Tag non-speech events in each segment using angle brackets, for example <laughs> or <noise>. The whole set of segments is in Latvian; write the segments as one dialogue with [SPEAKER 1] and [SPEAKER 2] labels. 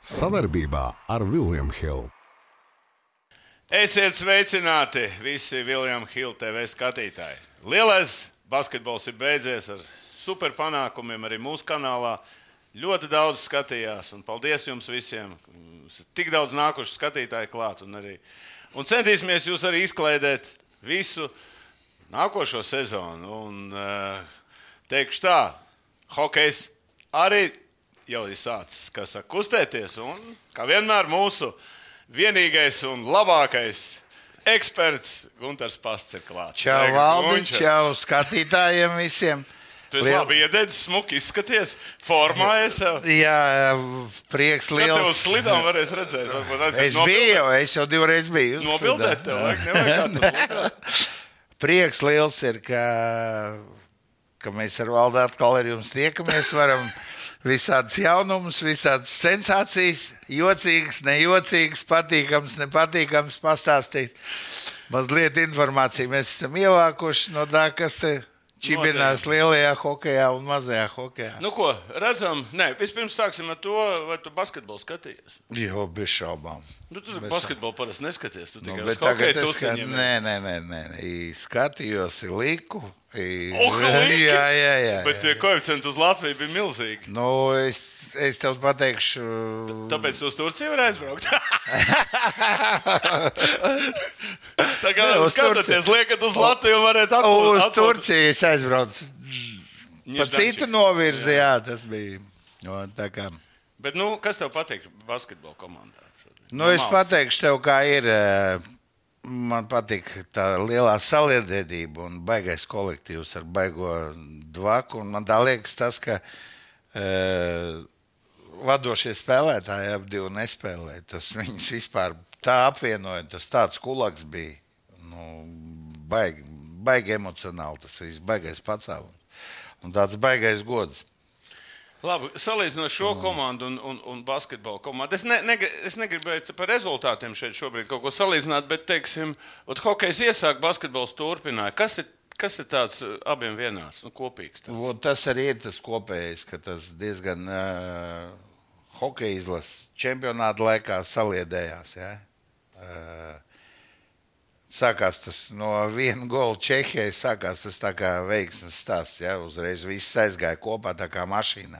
[SPEAKER 1] Savarbībā ar Vilniņu Hildu.
[SPEAKER 2] Esiet sveicināti visi Viljams Hilde TV skatītāji. Lielais basketbols ir beidzies ar superpanākumiem arī mūsu kanālā. Ļoti daudz skatījās, un paldies jums visiem. Mums ir tik daudz nākuši skatītāji klāt. Un, arī, un centīsimies jūs arī izklaidēt visu nākošo sezonu. Un, eh, teikšu tā, hokejs arī jau ir sācis kā saka, kustēties. Un, kā vienmēr, mūsu vienīgais un labākais eksperts Gunārs Pasts ir klāts.
[SPEAKER 3] Čau,
[SPEAKER 2] Sveiki,
[SPEAKER 3] Valdi,
[SPEAKER 2] Gunčer!
[SPEAKER 3] čau, skatītājiem visiem.
[SPEAKER 2] Tu esi
[SPEAKER 3] Liel-
[SPEAKER 2] labi iededzis, smuki izskaties, formā esi.
[SPEAKER 3] Jā, prieks
[SPEAKER 2] Kad tev
[SPEAKER 3] liels.
[SPEAKER 2] uz slidām varēs redzēt, varbūt aiziet
[SPEAKER 3] Es biju, jau, es jau divreiz biju. uz
[SPEAKER 2] Nobildēt
[SPEAKER 3] slidām.
[SPEAKER 2] tev, vajag nevajag
[SPEAKER 3] <laughs>
[SPEAKER 2] kā tas slidām.
[SPEAKER 3] Prieks liels ir, ka, ka mēs ar Valdi atkal ar jums tiekamies. Varam visādas jaunumus, visādas sensācijas, jocīgas, nejocīgas, patīkamas, nepatīkamas pastāstīt. Mazliet informāciju mēs esam ievākuši no tā, kas te čibinās lielajā hokeja un mazajā hokeja.
[SPEAKER 2] Nu ko, redzam, nē, vispirms sāksim ar to, vai tu basketbolu skatījies.
[SPEAKER 3] Jo, bez šaubām.
[SPEAKER 2] Nu, tu
[SPEAKER 3] Bez
[SPEAKER 2] basketbolu parasti neskaties, tu
[SPEAKER 3] Nu,
[SPEAKER 2] tikai
[SPEAKER 3] bet
[SPEAKER 2] uz
[SPEAKER 3] tagad
[SPEAKER 2] hokeju
[SPEAKER 3] es skatos,
[SPEAKER 2] tusiņiem.
[SPEAKER 3] nē, nē, nē, nē, nē. I skatījos, i liku. I...
[SPEAKER 2] Oh, liki!
[SPEAKER 3] jā, jā, jā.
[SPEAKER 2] Bet
[SPEAKER 3] jā.
[SPEAKER 2] tie koeficienti uz Latviju bija milzīgi.
[SPEAKER 3] Nu, es, es tev pateikšu,
[SPEAKER 2] Tāpēc tu uz Turciju var
[SPEAKER 3] <laughs>
[SPEAKER 2] aizbraukt. Tagad
[SPEAKER 3] Nē, uz
[SPEAKER 2] skatoties, liekat uz Latviju un varētu atpū-
[SPEAKER 3] uz
[SPEAKER 2] atpū-
[SPEAKER 3] Turciju es aizbraucu. Pa
[SPEAKER 2] Ņirdančiks.
[SPEAKER 3] citu novirzi, jā, tas bija. No, tā kā.
[SPEAKER 2] Bet, nu, kas tev patīk basketbola komandā? šodien?
[SPEAKER 3] Nu, es
[SPEAKER 2] Mals.
[SPEAKER 3] pateikšu tev, kā ir. eh, Man patīk tā lielā saliedētība un baigais kolektīvs ar baigo dvaku. un Man tā liekas, tas, ka uh, vadošie spēlētāji ap divu nespēlē. Tas viņus vispār tā apvienoja. Tas tāds kulaks bija. Nu, baigi, baigi emocionāli tas viss, baigais pacēlums. Un tāds baigais gods.
[SPEAKER 2] Labi, salīdzinot šo komandu un, un, un basketbola komandu. Es, ne, negri, es negribēju par rezultātiem šeit šobrīd kaut ko salīdzināt, bet, teiksim, ot, hokejs iesāka, basketbols turpināja. Kas ir, kas ir tāds uh, abiem vienāds, nu, kopīgs? Tāds?
[SPEAKER 3] Un tas arī ir tas kopējais, ka tas diezgan uh, hokeja izlases čempionāta laikā saliedējās. Ja? Uh, sākās tas no viena gola Čehijai, sākās tas tā kā veiksmes stāsts. Ja? Uzreiz viss aizgāja kopā tā kā mašīnā.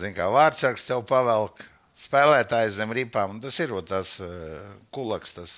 [SPEAKER 3] Zini, kā vārdsargs tev pavelk. Spēlētājs zem ripām, un tas ir o tas uh, kulaks. Tas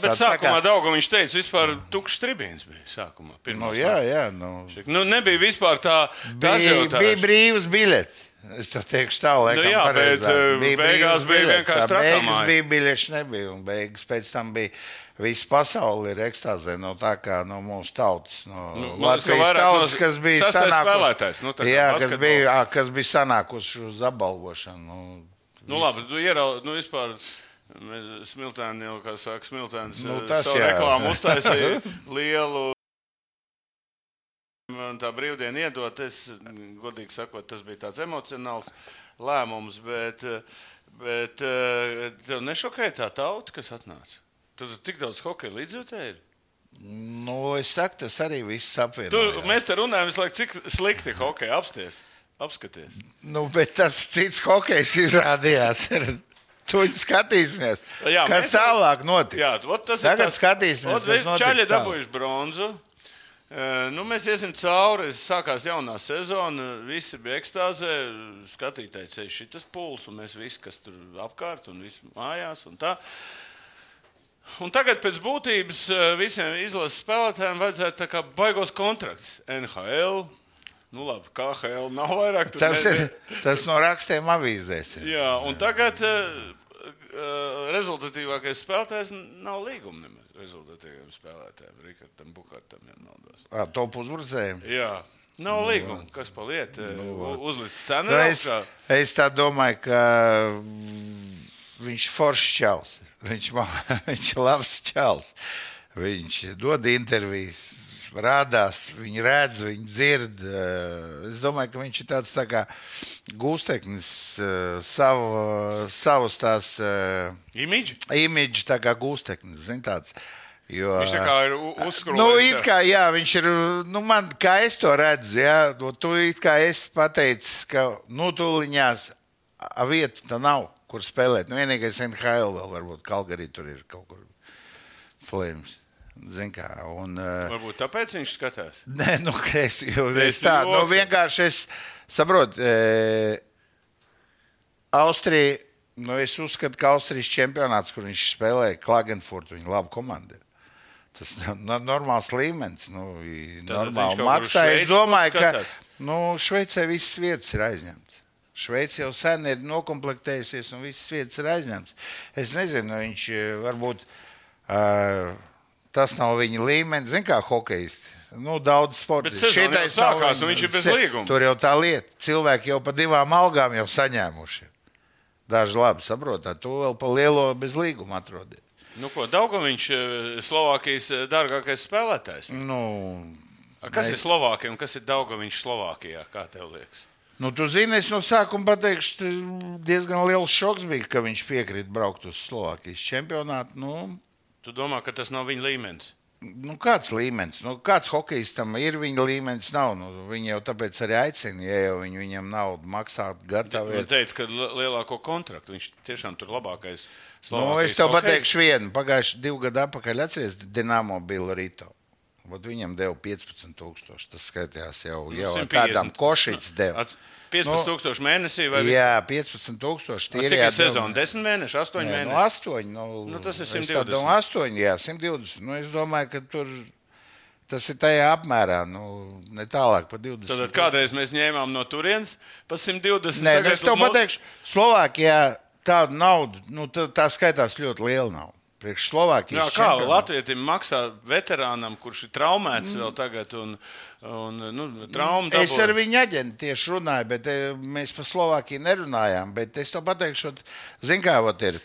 [SPEAKER 2] Nu, bet
[SPEAKER 3] tāds tā
[SPEAKER 2] sākumā Dauga viņš teica, vispār tukšs tribīns bija sākumā.
[SPEAKER 3] nu,
[SPEAKER 2] pirmos
[SPEAKER 3] jā, jā, nu,
[SPEAKER 2] laikos. Nu, nebija vispār tā, tā
[SPEAKER 3] bija,
[SPEAKER 2] ažiotāža.
[SPEAKER 3] bija brīvs biļets. Es to teikšu tā, laikam,
[SPEAKER 2] Nu jā,
[SPEAKER 3] pareizāk.
[SPEAKER 2] bet, eh, beigās
[SPEAKER 3] brīvs
[SPEAKER 2] bija
[SPEAKER 3] biļets,
[SPEAKER 2] vienkārši
[SPEAKER 3] tā,
[SPEAKER 2] trakā
[SPEAKER 3] Beigas
[SPEAKER 2] māja.
[SPEAKER 3] bija biļets, nebija. Un beigas pēc tam bija visa pasaule ir ekstāzē no tā kā no mūsu tautas. No nu,
[SPEAKER 2] man liekas, ka
[SPEAKER 3] Latvijas
[SPEAKER 2] vairāk
[SPEAKER 3] tautas,
[SPEAKER 2] no
[SPEAKER 3] kas bija
[SPEAKER 2] sastais
[SPEAKER 3] sanākusi-
[SPEAKER 2] spēlētājs, nu, tā kā
[SPEAKER 3] jā, kas
[SPEAKER 2] basketbolā.
[SPEAKER 3] bija, ā, kas bija sanākuši uz apbalvošanu. Nu,
[SPEAKER 2] Nu, labi, tu ieraudzīji, nu, vispār. Mēs smiltēni jau, kā saka, smiltēns
[SPEAKER 3] Nu,
[SPEAKER 2] eh,
[SPEAKER 3] tas
[SPEAKER 2] savu
[SPEAKER 3] jā.
[SPEAKER 2] reklāmu uztaisīja
[SPEAKER 3] <laughs>
[SPEAKER 2] lielu. Man tā brīvdiena iedot, es godīgi sakot, tas bija tāds emocionāls lēmums, bet, eh, bet eh, tev nešokēja tā tauta, kas atnāca. Tur tik daudz hokeja līdzjūtēji ir.
[SPEAKER 3] Nu, es saku, tas arī viss
[SPEAKER 2] Tu,
[SPEAKER 3] apvienojās.
[SPEAKER 2] mēs te runājam visu laiku, cik slikti hokeja apsties. Apskaties.
[SPEAKER 3] Nu, bet tas cits hokejs izrādījās. <laughs> Tur skatīsimies,
[SPEAKER 2] Nu Jā,
[SPEAKER 3] jā, kas
[SPEAKER 2] mēs-
[SPEAKER 3] tālāk notiks.
[SPEAKER 2] Jā, ot, tas
[SPEAKER 3] Tagad
[SPEAKER 2] ir tas,
[SPEAKER 3] skatīsimies,
[SPEAKER 2] Ot,
[SPEAKER 3] kas
[SPEAKER 2] vi-
[SPEAKER 3] notiks
[SPEAKER 2] Čaļi
[SPEAKER 3] tālāk.
[SPEAKER 2] dabūjuši bronzu. Eh, Nu, mēs iesim cauri. Sākās jaunā sezona. Visi bija ekstāzē. Skatītāji ceļš šis pūls, un mēs visi, kas tur apkārt un visi mājās. Un tā. un tagad pēc būtības eh, visiem izlases spēlētājiem vajadzētu tā kā baigos kontrakts. NHL, nu labi, KHL nav vairāk. tur
[SPEAKER 3] Tas
[SPEAKER 2] ne-
[SPEAKER 3] ir tas no rakstiem avīzēs. ir.
[SPEAKER 2] Jā, un tagad uh, rezultatīvākais spēlētājs n- nav līguma nemaz rezultatīviem spēlētājiem, Rikardam Bukartam, ja nemaldos.
[SPEAKER 3] Ar top uzbrucējiem.
[SPEAKER 2] Jā, nav līguma, kas paliek. Uh, uzlicis cenu.
[SPEAKER 3] Nu, Es,
[SPEAKER 2] augšā.
[SPEAKER 3] es tā domāju, ka mm, viņš ir foršs čels. Viņš, ma- <laughs> viņš ir labs čels. Viņš dod intervijas, rādās, viņi redz, viņi dzird. eh, Es domāju, ka viņš ir tāds tā kā gūsteknis, eh, savu, savus tās eh,
[SPEAKER 2] Imidži.
[SPEAKER 3] imidžu tā kā gūsteknis. zini, tāds. Jo,
[SPEAKER 2] Viņš tā kā ir u- uzskrūvējis
[SPEAKER 3] Nu,
[SPEAKER 2] tā.
[SPEAKER 3] it kā, jā, viņš ir. Nu, man, kā es to redzu, jā, nu, tu it kā es pateicu, ka, nu, tūliņās a- vietu tā nav. kur spēlēt. Nu, vienīgais NHL vēl varbūt Kalgarī tur ir kaut kur flames. Zin kā, un, uh,
[SPEAKER 2] Varbūt tāpēc viņš skatās.
[SPEAKER 3] <laughs> Nē, nu, ka es, jau, es
[SPEAKER 2] Esi
[SPEAKER 3] tā nu,
[SPEAKER 2] joks.
[SPEAKER 3] vienkārši es saprotu. E, Austrija, nu, es uzskatu, ka Austrijas čempionāts, kur viņš spēlēja Klagenfurtu, viņa laba komanda. ir. Tas <laughs> ir no, normāls līmenis. Nu, i-
[SPEAKER 2] Tātad viņš kaut
[SPEAKER 3] normāli
[SPEAKER 2] kur uz
[SPEAKER 3] maksā. Es
[SPEAKER 2] Šveici
[SPEAKER 3] domāju, ka
[SPEAKER 2] skatās?
[SPEAKER 3] nu, Šveicē visas vietas ir aizņemtas. Šveice jau sen ir noklāpējusies, un visas vietas ir aizņemtas. Es nezinu, viņš e, varbūt. Uh, tas nav viņa līmenis. Ziniet, kā hokeisti. Nu, daudz sporta.
[SPEAKER 2] Bet sezona jau sākās, un viņš ir bez līguma.
[SPEAKER 3] Tur jau tā lieta. Cilvēki jau par divām algām jau saņēmuši. Daži labi saprotat, to vēl pa lielo bez līguma atrodiet.
[SPEAKER 2] Nu, ko Daugaviņš, eh, Slovākijas eh, dārgākais spēlētājs?
[SPEAKER 3] Nu,
[SPEAKER 2] A, Kas
[SPEAKER 3] Nē.
[SPEAKER 2] ir Slovākija un kas ir Daugaviņš Slovākijā? Kā tev liekas?
[SPEAKER 3] nu, tu zini, es no sākuma pateikšu, tas diezgan liels šoks bija, ka viņš piekrīt braukt uz Slovākijas čempionātu. Nu,
[SPEAKER 2] Tu domā, ka tas nav viņa līmenis?
[SPEAKER 3] nu, kāds līmenis, nu, kāds hokejistam ir viņa līmenis, nav. Nu, viņi jau tāpēc arī aicina, ja jau viņi, viņam naudu maksāt, gatavi.
[SPEAKER 2] Viņš teica, ka li- lielāko kontraktu viņš tiešām tur labākais.
[SPEAKER 3] Nu, es tev pateikšu vienu. Pagājuši divu gadu atpakaļ atceries Dienāmo Bilorito. Vat viņam deva 15,000. Tas skaitījās jau,
[SPEAKER 2] Nu,
[SPEAKER 3] jau ar tādām
[SPEAKER 2] <laughs>
[SPEAKER 3] košītas deva.
[SPEAKER 2] 15,000 mēnesī vai jā,
[SPEAKER 3] Nu, Jā, 15,000.
[SPEAKER 2] cik ir sezona? 10 mēneši, 8
[SPEAKER 3] Nē,
[SPEAKER 2] mēneši.
[SPEAKER 3] nu, 8, nu,
[SPEAKER 2] Nu, tas ir
[SPEAKER 3] es
[SPEAKER 2] 120.
[SPEAKER 3] tā domāju, 8, jā, 120. Nu, es domāju, ka tur tas ir tajā apmērā, nu, ne tālāk par 20.
[SPEAKER 2] Tad kādreiz mēs ņēmām no turienes pa 120.
[SPEAKER 3] Nē,
[SPEAKER 2] tagad
[SPEAKER 3] nu, es tev
[SPEAKER 2] mul-
[SPEAKER 3] pateikšu, Slovākijā tādu naudu, nu, tā, tā skaitās ļoti liela nauda. Priekš
[SPEAKER 2] Jā,
[SPEAKER 3] Slovākijas.
[SPEAKER 2] kā
[SPEAKER 3] čempionāta.
[SPEAKER 2] Latvijam maksā veterānam, kurš ir traumēts vēl tagad, un, un nu, trauma
[SPEAKER 3] Mm. Es
[SPEAKER 2] dabūja.
[SPEAKER 3] ar viņu aģentu tieši runāju, bet e, mēs par Slovākiju nerunājām. Bet es to pateikšu, zināmā kā vot ir.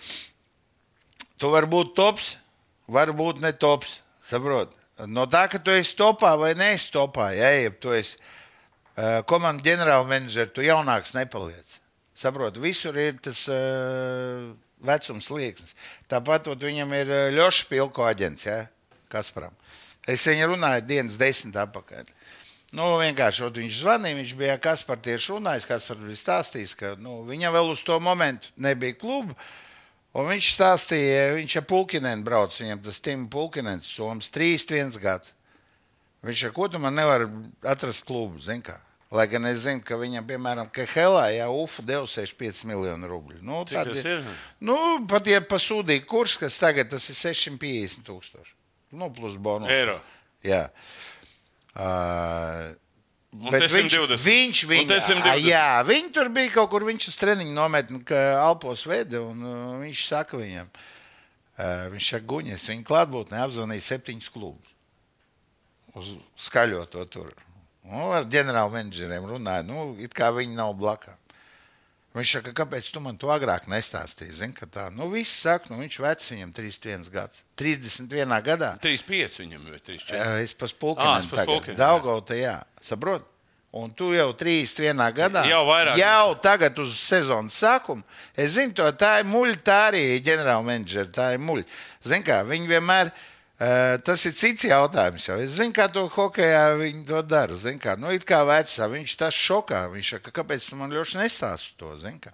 [SPEAKER 3] Tu vari būt tops, vari būt ne tops. Saprot? No tā, ka tu esi topā vai nē, es topā, ja jau tu esi e, komandas ģenerālmenedžers, tu jaunāks nepaliec. Saprot, visur ir tas e, vecums slieksnis. Tāpat ot, viņam ir e, Ļoša Pilko aģents, ja? Kasparam. Es viņu runāju dienas desmit apakaļ. Nu, vienkārši ot, viņš zvanīja, viņš bija Kaspars tieši runājis, Kaspars bija stāstījis, ka nu, viņam vēl uz to momentu nebija kluba. Un viņš stāstīja, viņš ar pulkinēnu brauc, viņam tas Tim Pulkinens, Somijas 3-1 gads. Viņš ar ko tu man nevar atrast klubu, zin kā. Lai gan es zinu, ka viņam, piemēram, Kehelā, ja UFO deva 65 miljonu rubļu. Nu,
[SPEAKER 2] Cik tas ir?
[SPEAKER 3] Nu, pat ja pasūdīja kurs, kas tagad tas ir 650 tūkstoši. Nu, plus bonus.
[SPEAKER 2] Eiro.
[SPEAKER 3] Jā. Uh,
[SPEAKER 2] Un
[SPEAKER 3] Bet
[SPEAKER 2] Nu, te
[SPEAKER 3] viņš,
[SPEAKER 2] 120.
[SPEAKER 3] viņš,
[SPEAKER 2] Un
[SPEAKER 3] viņa,
[SPEAKER 2] te 120.
[SPEAKER 3] jā, viņi tur bija kaut kur, viņš uz treniņu nometni, ka Alpos veda, un uh, viņš saka viņam, uh, viņš saka, guņies, viņa klātbūtnē apzvanīja septiņus klubus. Uz skaļo to tur. Nu, ar ģenerālu menedžeriem runāja, nu, it kā viņi nav blakā. Viņš saka, kāpēc tu man to agrāk nestāstīji? Zin, ka tā, nu, viss saka, nu, viņš vecs viņam 31 gads. 31 gadā.
[SPEAKER 2] 3,5 viņam vai 3,4.
[SPEAKER 3] Jā, Eh, Es pats
[SPEAKER 2] Ā, Ah, es pa
[SPEAKER 3] pulkinu.
[SPEAKER 2] Spulkinu,
[SPEAKER 3] Daugautā, jā, saprot. Un tu jau trīs vienā gadā.
[SPEAKER 2] Jau vairāk.
[SPEAKER 3] Jau tagad uz sezonas sākumu. Es zinu, to, tā ir muļķa, tā arī ir ģenerāla menedžera, tā ir muļķa. Zini, kā viņi vienmēr. eh, Tas ir cits jautājums. Jau. Es zinu, kā to hokeja viņi to dara. Zini, kā, nu, it kā vecā, viņš tas šokā. Viņš saka, kāpēc tu man ļoti nestāsti to? Zini, kā.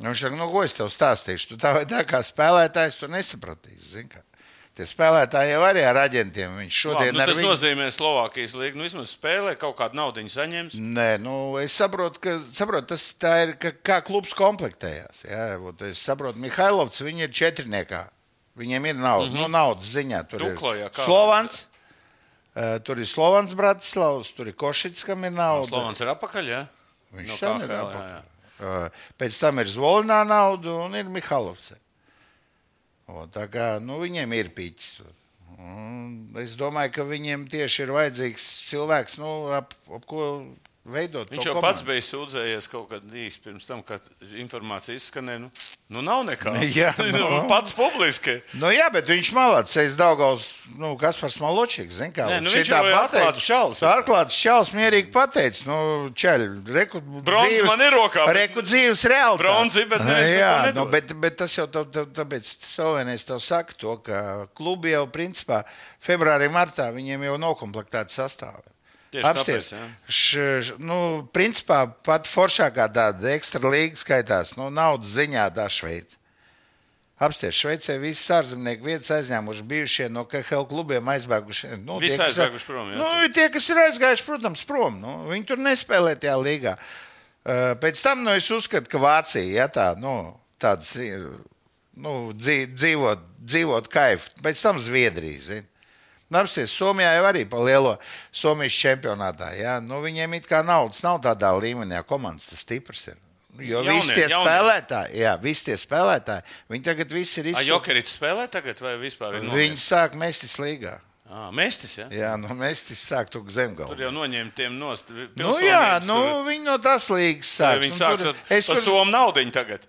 [SPEAKER 3] Nu, Viņš saka, nu, ko es tev stāstīšu? Tu tā vai tā kā spēlētājs to nesapratīsi. zini kā. Tie spēlētāji jau arī ar aģentiem. Viņš
[SPEAKER 2] Labi,
[SPEAKER 3] šodien
[SPEAKER 2] nu,
[SPEAKER 3] ar
[SPEAKER 2] tas
[SPEAKER 3] viņu-
[SPEAKER 2] nozīmē, ka Slovākijas līnija nu, vismaz spēlē kaut kādu naudu saņems.
[SPEAKER 3] Nē, nu, es saprotu, ka saprotu, tas tā ir ka, kā klubs komplektējās. Jā, Vot es saprotu, Mihailovs viņi ir četrniekā. Viņiem ir nauda, mm -hmm. nu, naudas ziņā. Tur
[SPEAKER 2] Duklo, jā,
[SPEAKER 3] ir
[SPEAKER 2] Mhm. kā?
[SPEAKER 3] Slovāns. eh, Tur ir Slovāns Bratislavs, tur ir Košits, kam ir nauda.
[SPEAKER 2] Slovāns ir apakaļ. Ja? No
[SPEAKER 3] Viņš no šeit ir
[SPEAKER 2] KHL, jā,
[SPEAKER 3] apakšā. Uh, Pēc tam ir Zvolinā nauda un ir Mihālovs. Tā kā nu, viņiem ir pīķis. Un Es domāju, ka viņiem tieši ir vajadzīgs cilvēks, nu, ap, ap ko veidot.
[SPEAKER 2] Viņš
[SPEAKER 3] to
[SPEAKER 2] jau pats
[SPEAKER 3] komandu.
[SPEAKER 2] bija sūdzējies kaut kad īsi pirms tam, kad informācija izskanēja. Nu, nu nav nekā.
[SPEAKER 3] <laughs> Jā,
[SPEAKER 2] <laughs> nu,
[SPEAKER 3] nu.
[SPEAKER 2] pats publiski.
[SPEAKER 3] Nu, jā, bet viņš malācis. Es daudzos, nu, kas par smaločiku, zinu, kā
[SPEAKER 2] Nē, nu, viņš
[SPEAKER 3] šitā
[SPEAKER 2] jau ir
[SPEAKER 3] pateica.
[SPEAKER 2] atklāts čalis.
[SPEAKER 3] Atklāts čels mierīgi pateicis, nu, čeļ, reku.
[SPEAKER 2] Bronzas
[SPEAKER 3] dzīves-
[SPEAKER 2] man ir rokā, bet-
[SPEAKER 3] Reku dzīves reāli.
[SPEAKER 2] Bronzi, bet neviens neko
[SPEAKER 3] Jā,
[SPEAKER 2] nedod.
[SPEAKER 3] nu, bet, bet tas jau tā, tā, tāpēc, Slovenijas tev saka to, ka klubi jau, principā, februārī, martā viņiem jau nokomplektēta sastāvā.
[SPEAKER 2] Tieši
[SPEAKER 3] Apstāties.
[SPEAKER 2] tāpēc, jā.
[SPEAKER 3] Nu, principā pat foršākā tāda ekstra līnija skaitās. Nu, naudas ziņā tā Šveice. Apstāties. Šveicē visas ārzemnieku vietas aizņēmuši bijušie no KL klubiem aizbēguši. Nu,
[SPEAKER 2] Visi
[SPEAKER 3] kas-
[SPEAKER 2] aizbēguši prom, jā.
[SPEAKER 3] Nu, tie, kas ir aizgājuši, protams, prom. Nu, viņi tur nespēlē tajā līgā. Uh, Pēc tam nu, es uzskatu, ka Vācija ja, tā, nu, tāds, uh, nu, dzī- dzīvot, dzīvot kaifu. Pēc tam Zviedrija. Zini. Apstāties, Somijā jau arī pa lielo Somijas čempionātā. Ja? Nu, viņiem it kā naudas nav tādā līmenī, ja komandas tas stiprs ir. Jo
[SPEAKER 2] Jaunie,
[SPEAKER 3] visi tie
[SPEAKER 2] jaunie.
[SPEAKER 3] spēlētāji, jā, visi tie spēlētāji, viņi tagad visi ir
[SPEAKER 2] Ai,
[SPEAKER 3] izsūtīti.
[SPEAKER 2] Jokerits spēlē tagad vai vispār? ir
[SPEAKER 3] Viņi
[SPEAKER 2] noņemts?
[SPEAKER 3] sāk mestis līgā.
[SPEAKER 2] Ā, Mestis, jā.
[SPEAKER 3] Jā, nu mestis sāk tu zemgalu.
[SPEAKER 2] Tur jau noņēma tiem nost.
[SPEAKER 3] Nu, jā, nu, viņi no tās līgas sāk.
[SPEAKER 2] Viņi sāks ar
[SPEAKER 3] es
[SPEAKER 2] par
[SPEAKER 3] tur,
[SPEAKER 2] somu naudu tagad.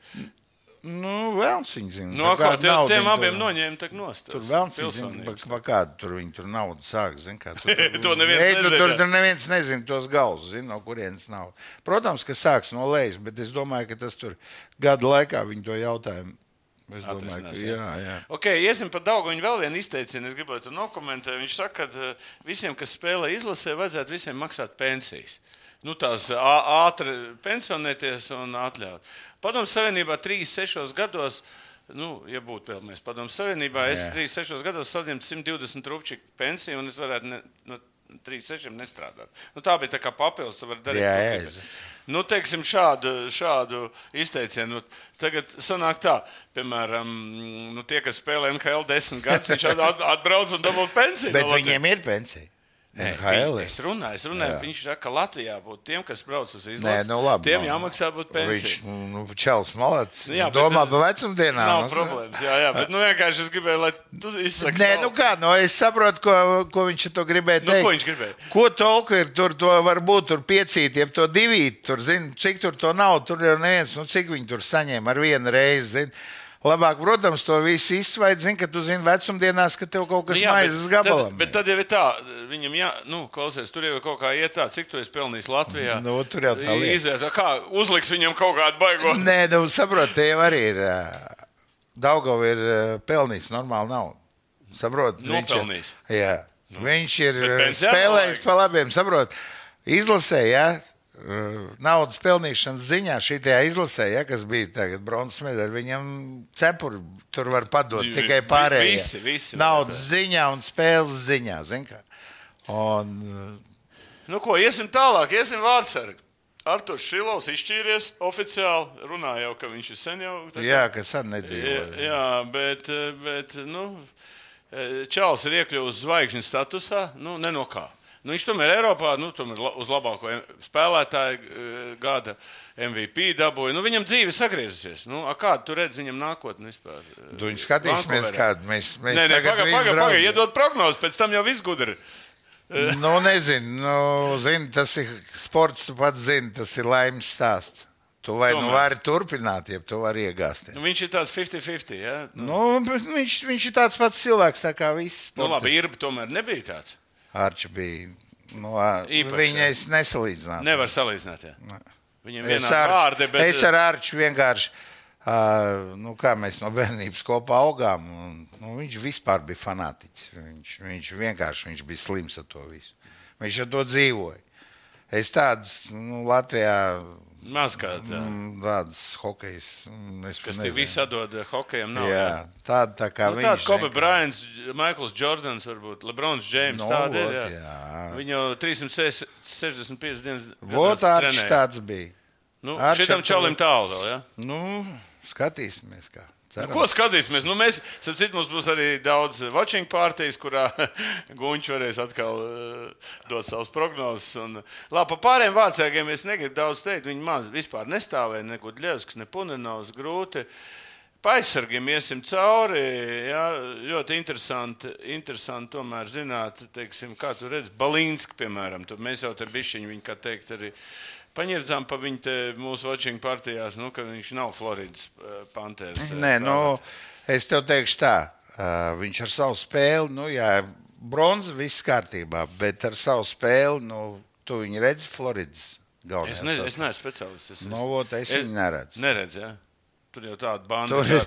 [SPEAKER 3] nu, vēlams viņu zinu.
[SPEAKER 2] No kā
[SPEAKER 3] pa kādu
[SPEAKER 2] tiem,
[SPEAKER 3] naudu
[SPEAKER 2] Nu, tiem
[SPEAKER 3] viņi
[SPEAKER 2] abiem
[SPEAKER 3] tur-
[SPEAKER 2] noņēma, tad nost.
[SPEAKER 3] Tur vēl nezinu, pa, pa kādu tur viņi tur naudu sāk. Zin, kā,
[SPEAKER 2] <laughs>
[SPEAKER 3] tur,
[SPEAKER 2] To neviens
[SPEAKER 3] Ei, tur, tur,
[SPEAKER 2] nezina.
[SPEAKER 3] tur neviens nezina tos galus, zin, no kurienes nav. Protams, ka sāks no lejas, bet es domāju, ka tas tur gada laikā viņi to jautājumu. Es domāju,
[SPEAKER 2] Atrisinās,
[SPEAKER 3] ka
[SPEAKER 2] jā.
[SPEAKER 3] jā, jā.
[SPEAKER 2] Okay, iesim par daudz. Viņa vēl viena izteiciena, es gribētu nokomentēt. Viņš saka, ka eh, visiem, kas spēlē izlasē, vajadzētu visiem maksāt pensijas. Nu, tās ā- ātri pensionēties un atļaut. Padomu Savienībā 36 gados. Nu, ja būtu vēl mēs padomu savienībā, es
[SPEAKER 3] Jā.
[SPEAKER 2] 36 gados saņemtu 120 rupču pensiju, un es varētu ne, no 36 nestrādāt. Nu, tā bija tā kā papildus, tu vari darīt.
[SPEAKER 3] Jā,
[SPEAKER 2] ko
[SPEAKER 3] jā,
[SPEAKER 2] gribi.
[SPEAKER 3] es-
[SPEAKER 2] Nu, teiksim, šādu, šādu izteicienu. Nu, Tagad sanāk tā, piemēram, mm, nu, tie, kas spēlē NHL desmit gadus, viņš at- at- atbrauc un dabū <laughs> pensiju.
[SPEAKER 3] Bet
[SPEAKER 2] no Latvijas.
[SPEAKER 3] viņiem ir pensija. Nu,
[SPEAKER 2] Nē,
[SPEAKER 3] NHL.
[SPEAKER 2] vi- Es runāju, es runāju
[SPEAKER 3] Jā.
[SPEAKER 2] viņš saka, ka Latvijā būtu tiem, kas brauc uz
[SPEAKER 3] Nē,
[SPEAKER 2] izlasi.
[SPEAKER 3] nu labi.
[SPEAKER 2] Tiem
[SPEAKER 3] nu,
[SPEAKER 2] jāmaksā būtu
[SPEAKER 3] Viņš,
[SPEAKER 2] pensija.
[SPEAKER 3] nu, nu, Čels Malets,
[SPEAKER 2] Nu jā,
[SPEAKER 3] jā,
[SPEAKER 2] bet,
[SPEAKER 3] domā
[SPEAKER 2] eh,
[SPEAKER 3] par vecumdienām.
[SPEAKER 2] Nav
[SPEAKER 3] nu.
[SPEAKER 2] problēmas. Jā, jā, bet nu, vienkārši es gribēju, lai tu izsaki.
[SPEAKER 3] Nē,
[SPEAKER 2] savu.
[SPEAKER 3] nu kā, nu es saprotu, ko, ko viņš ar to gribēja
[SPEAKER 2] Nu,
[SPEAKER 3] teikt.
[SPEAKER 2] ko viņš gribēja?
[SPEAKER 3] Ko tolku ir tur, to var būt tur piecīt, jeb to divīt, tur zina, cik tur to nav, tur jau neviens, nu cik viņi tur saņēma ar vienu reizi, zina. Labāk, protams, to visu izsvaid, zina, ka tu zini vecumdienās, ka tev kaut
[SPEAKER 2] Nu
[SPEAKER 3] kas
[SPEAKER 2] jā, bet
[SPEAKER 3] maizes gabalam.
[SPEAKER 2] Tad, bet tad jau ir tā, viņam jā, nu, klausies, tur jau ir kaut kā iet tā, cik tu esi pelnījis Latvijā.
[SPEAKER 3] Nu, tur jau tā lieta.
[SPEAKER 2] Iziet, kā uzliks viņam kaut kādu baigo.
[SPEAKER 3] Nē, nu saproti, tev arī ir, Daugov ir ā, pelnījis normāli naudu. Saproti? viņš ir-
[SPEAKER 2] Nopelnījis.
[SPEAKER 3] Jā. Nu, viņš ir
[SPEAKER 2] bet
[SPEAKER 3] eh,
[SPEAKER 2] pensijā
[SPEAKER 3] spēlējis
[SPEAKER 2] nevajag.
[SPEAKER 3] pa labiem, saprot, izlasē, ja, eh, naudas pelnīšanas ziņā, šī izlasē, ja, kas bija tagad bronzas medaļa, viņam cepuri tur var padot
[SPEAKER 2] Vi-
[SPEAKER 3] tikai
[SPEAKER 2] vi-
[SPEAKER 3] pārējie.
[SPEAKER 2] visi, visi var
[SPEAKER 3] Naudas ziņā un spēles ziņā, zin kā. Un, eh,
[SPEAKER 2] Nu, ko, iesim tālāk, iesim vārdsargi. Arthurs Šilovs izšķīries oficiāli. Runā jau, ka viņš ir sen jau. tā kā-
[SPEAKER 3] jā, kas arī
[SPEAKER 2] jā,
[SPEAKER 3] nedzīvo.
[SPEAKER 2] jā, bet, eh, bet nu, eh, Čāls ir iekļuvis zvaigžņu statusā. Nu, ne no kā. Nu, viņš tomēr Eiropā nu, tomēr la- uz labāko em- spēlētāju eh, gada MVP dabūja. Nu, viņam dzīve sagriezusies. Nu, a kādu tu redzi viņam nākotnē vispār? Eh,
[SPEAKER 3] Tu Nu, viņš skatīsimies,
[SPEAKER 2] Vancouverā?
[SPEAKER 3] kādu mēs, mēs
[SPEAKER 2] Nē, nē,
[SPEAKER 3] tagad
[SPEAKER 2] pagaidi,
[SPEAKER 3] visu
[SPEAKER 2] pagaidi,
[SPEAKER 3] draudz-
[SPEAKER 2] pagaidi, iedod prognozi, pēc tam jau viss gudri.
[SPEAKER 3] Nu, nezinu, nu, zini, tas ir sports, tu pats zini, tas ir laimes stāsts. Tu vai nu
[SPEAKER 2] Tomēr.
[SPEAKER 3] vari turpināt, ja tu vari iegāzties.
[SPEAKER 2] Nu, viņš ir tāds 50-50. Ja? Nu,
[SPEAKER 3] Nu, bet viņš, viņš ir tāds pats cilvēks, tā kā viss.
[SPEAKER 2] nu, labi, ir, bet tomēr nebija tāds.
[SPEAKER 3] Arčs bija. Nu, ā,
[SPEAKER 2] Īpašs,
[SPEAKER 3] viņa
[SPEAKER 2] jā.
[SPEAKER 3] es nesalīdzināju.
[SPEAKER 2] Nevar salīdzināt. Jā. Viņam ir
[SPEAKER 3] Es
[SPEAKER 2] viena
[SPEAKER 3] ar,
[SPEAKER 2] vārda, bet
[SPEAKER 3] es ar Arču vienkārši, uh, nu, kā mēs no bērnības kopā augām, un, nu, viņš vispār bija fanātiķis. Viņš, viņš vienkārši viņš bija slims ar to visu. Viņš ar to dzīvoja. Es tādus nu, Latvijā,
[SPEAKER 2] eh, mazgāt,
[SPEAKER 3] mm, tādus hokejus,
[SPEAKER 2] kas tie visi atdod eh, hokejam, nav. jā.
[SPEAKER 3] Jā, tāda tā kā
[SPEAKER 2] Nu,
[SPEAKER 3] viņš.
[SPEAKER 2] Tāda Kobe
[SPEAKER 3] vienkārši-
[SPEAKER 2] Bryants, Maikls Jordans, varbūt Lebrons Džeims.
[SPEAKER 3] Nu,
[SPEAKER 2] No, tāda ir. Jā.
[SPEAKER 3] vot, jā.
[SPEAKER 2] Viņu jau 365 dienas
[SPEAKER 3] Vot
[SPEAKER 2] gados
[SPEAKER 3] Arčs
[SPEAKER 2] trenēja.
[SPEAKER 3] tāds bija.
[SPEAKER 2] Nu,
[SPEAKER 3] Arčs
[SPEAKER 2] šitam
[SPEAKER 3] ar-
[SPEAKER 2] čalim tālu vēl. Ja?
[SPEAKER 3] Nu, skatīsimies, kā.
[SPEAKER 2] Nu,
[SPEAKER 3] Ceram.
[SPEAKER 2] ko skatīsimies? Nu, mēs, starp citu, mums būs arī daudz watching pārtīs, kurā <laughs> Gunčs varēs atkal uh, dot savus prognozes. Un, labi, par pārējiem vārdiem es negribu daudz teikt. Viņi maz vispār nestāvēja, ne Gudļevskis, ne Punenovs, grūti. Paisargiem iesim cauri. Jā, ļoti interesanti, interesanti tomēr zināt, teiksim, kā tu redz Balīnski, piemēram. Tur mēs jau tur bišķiņu viņu, kā teikt, arī paņērdzām pa viņu te mūsu watching partijās, nu, ka viņš nav Floridas Panteras. eh,
[SPEAKER 3] Nē, nu, es tev teikšu tā, ā, viņš ar savu spēli, nu, jā, bronza viss kārtībā, bet ar savu spēli, nu, tu viņu redzi Floridas galvenajā.
[SPEAKER 2] Es, ne, es
[SPEAKER 3] sastāvā.
[SPEAKER 2] neesmu speciālists. Es, nu,
[SPEAKER 3] Nu, vot, es viņu neredzu.
[SPEAKER 2] Neredzu, jā. Tur jau tāda banda
[SPEAKER 3] Tur, ir-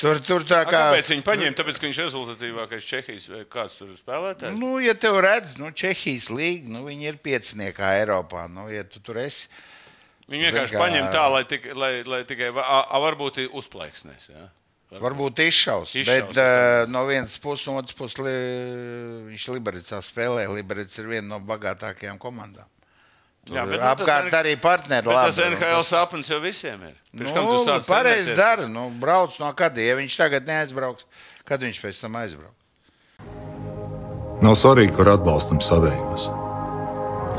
[SPEAKER 3] tur, tur tā
[SPEAKER 2] Kā...
[SPEAKER 3] kā.
[SPEAKER 2] Kāpēc viņi paņēma? Tāpēc, ka viņš ir rezultatīvākais Čehijas vai kāds tur spēlētājs. Nu,
[SPEAKER 3] Nu, ja te redz, nu, Čehijas līnija, nu, viņi ir pieciniekā Eiropā. Nu, ja tu tur esi,
[SPEAKER 2] viņi vienkārši
[SPEAKER 3] zin kā-
[SPEAKER 2] kā... paņēma tā, lai, tik, lai, lai tikai va- a, a, varbūt ir uzplaiksnēs. Ja?
[SPEAKER 3] varbūt izšaus.
[SPEAKER 2] Izšaus,
[SPEAKER 3] izšaus bet uh, no vienas puses, no otras puses, li, viņš Libericā spēlē. Liberec ir viena no bagātākajām komandām. Tur
[SPEAKER 2] Jā, bet, nu, tas
[SPEAKER 3] apkārt
[SPEAKER 2] N-
[SPEAKER 3] arī partneri.
[SPEAKER 2] Bet tas
[SPEAKER 3] labi, nu,
[SPEAKER 2] NHL sapnis jau visiem ir. Pirms kam tu
[SPEAKER 3] Nu,
[SPEAKER 2] sāc
[SPEAKER 3] pareizi
[SPEAKER 2] trenēties?
[SPEAKER 3] dara. Nu, brauc no kadiem. Ja viņš tagad neaizbrauks, kad viņš pēc tam aizbrauks?
[SPEAKER 2] Nu,
[SPEAKER 4] Nav svarīgi, kur atbalstam savējos.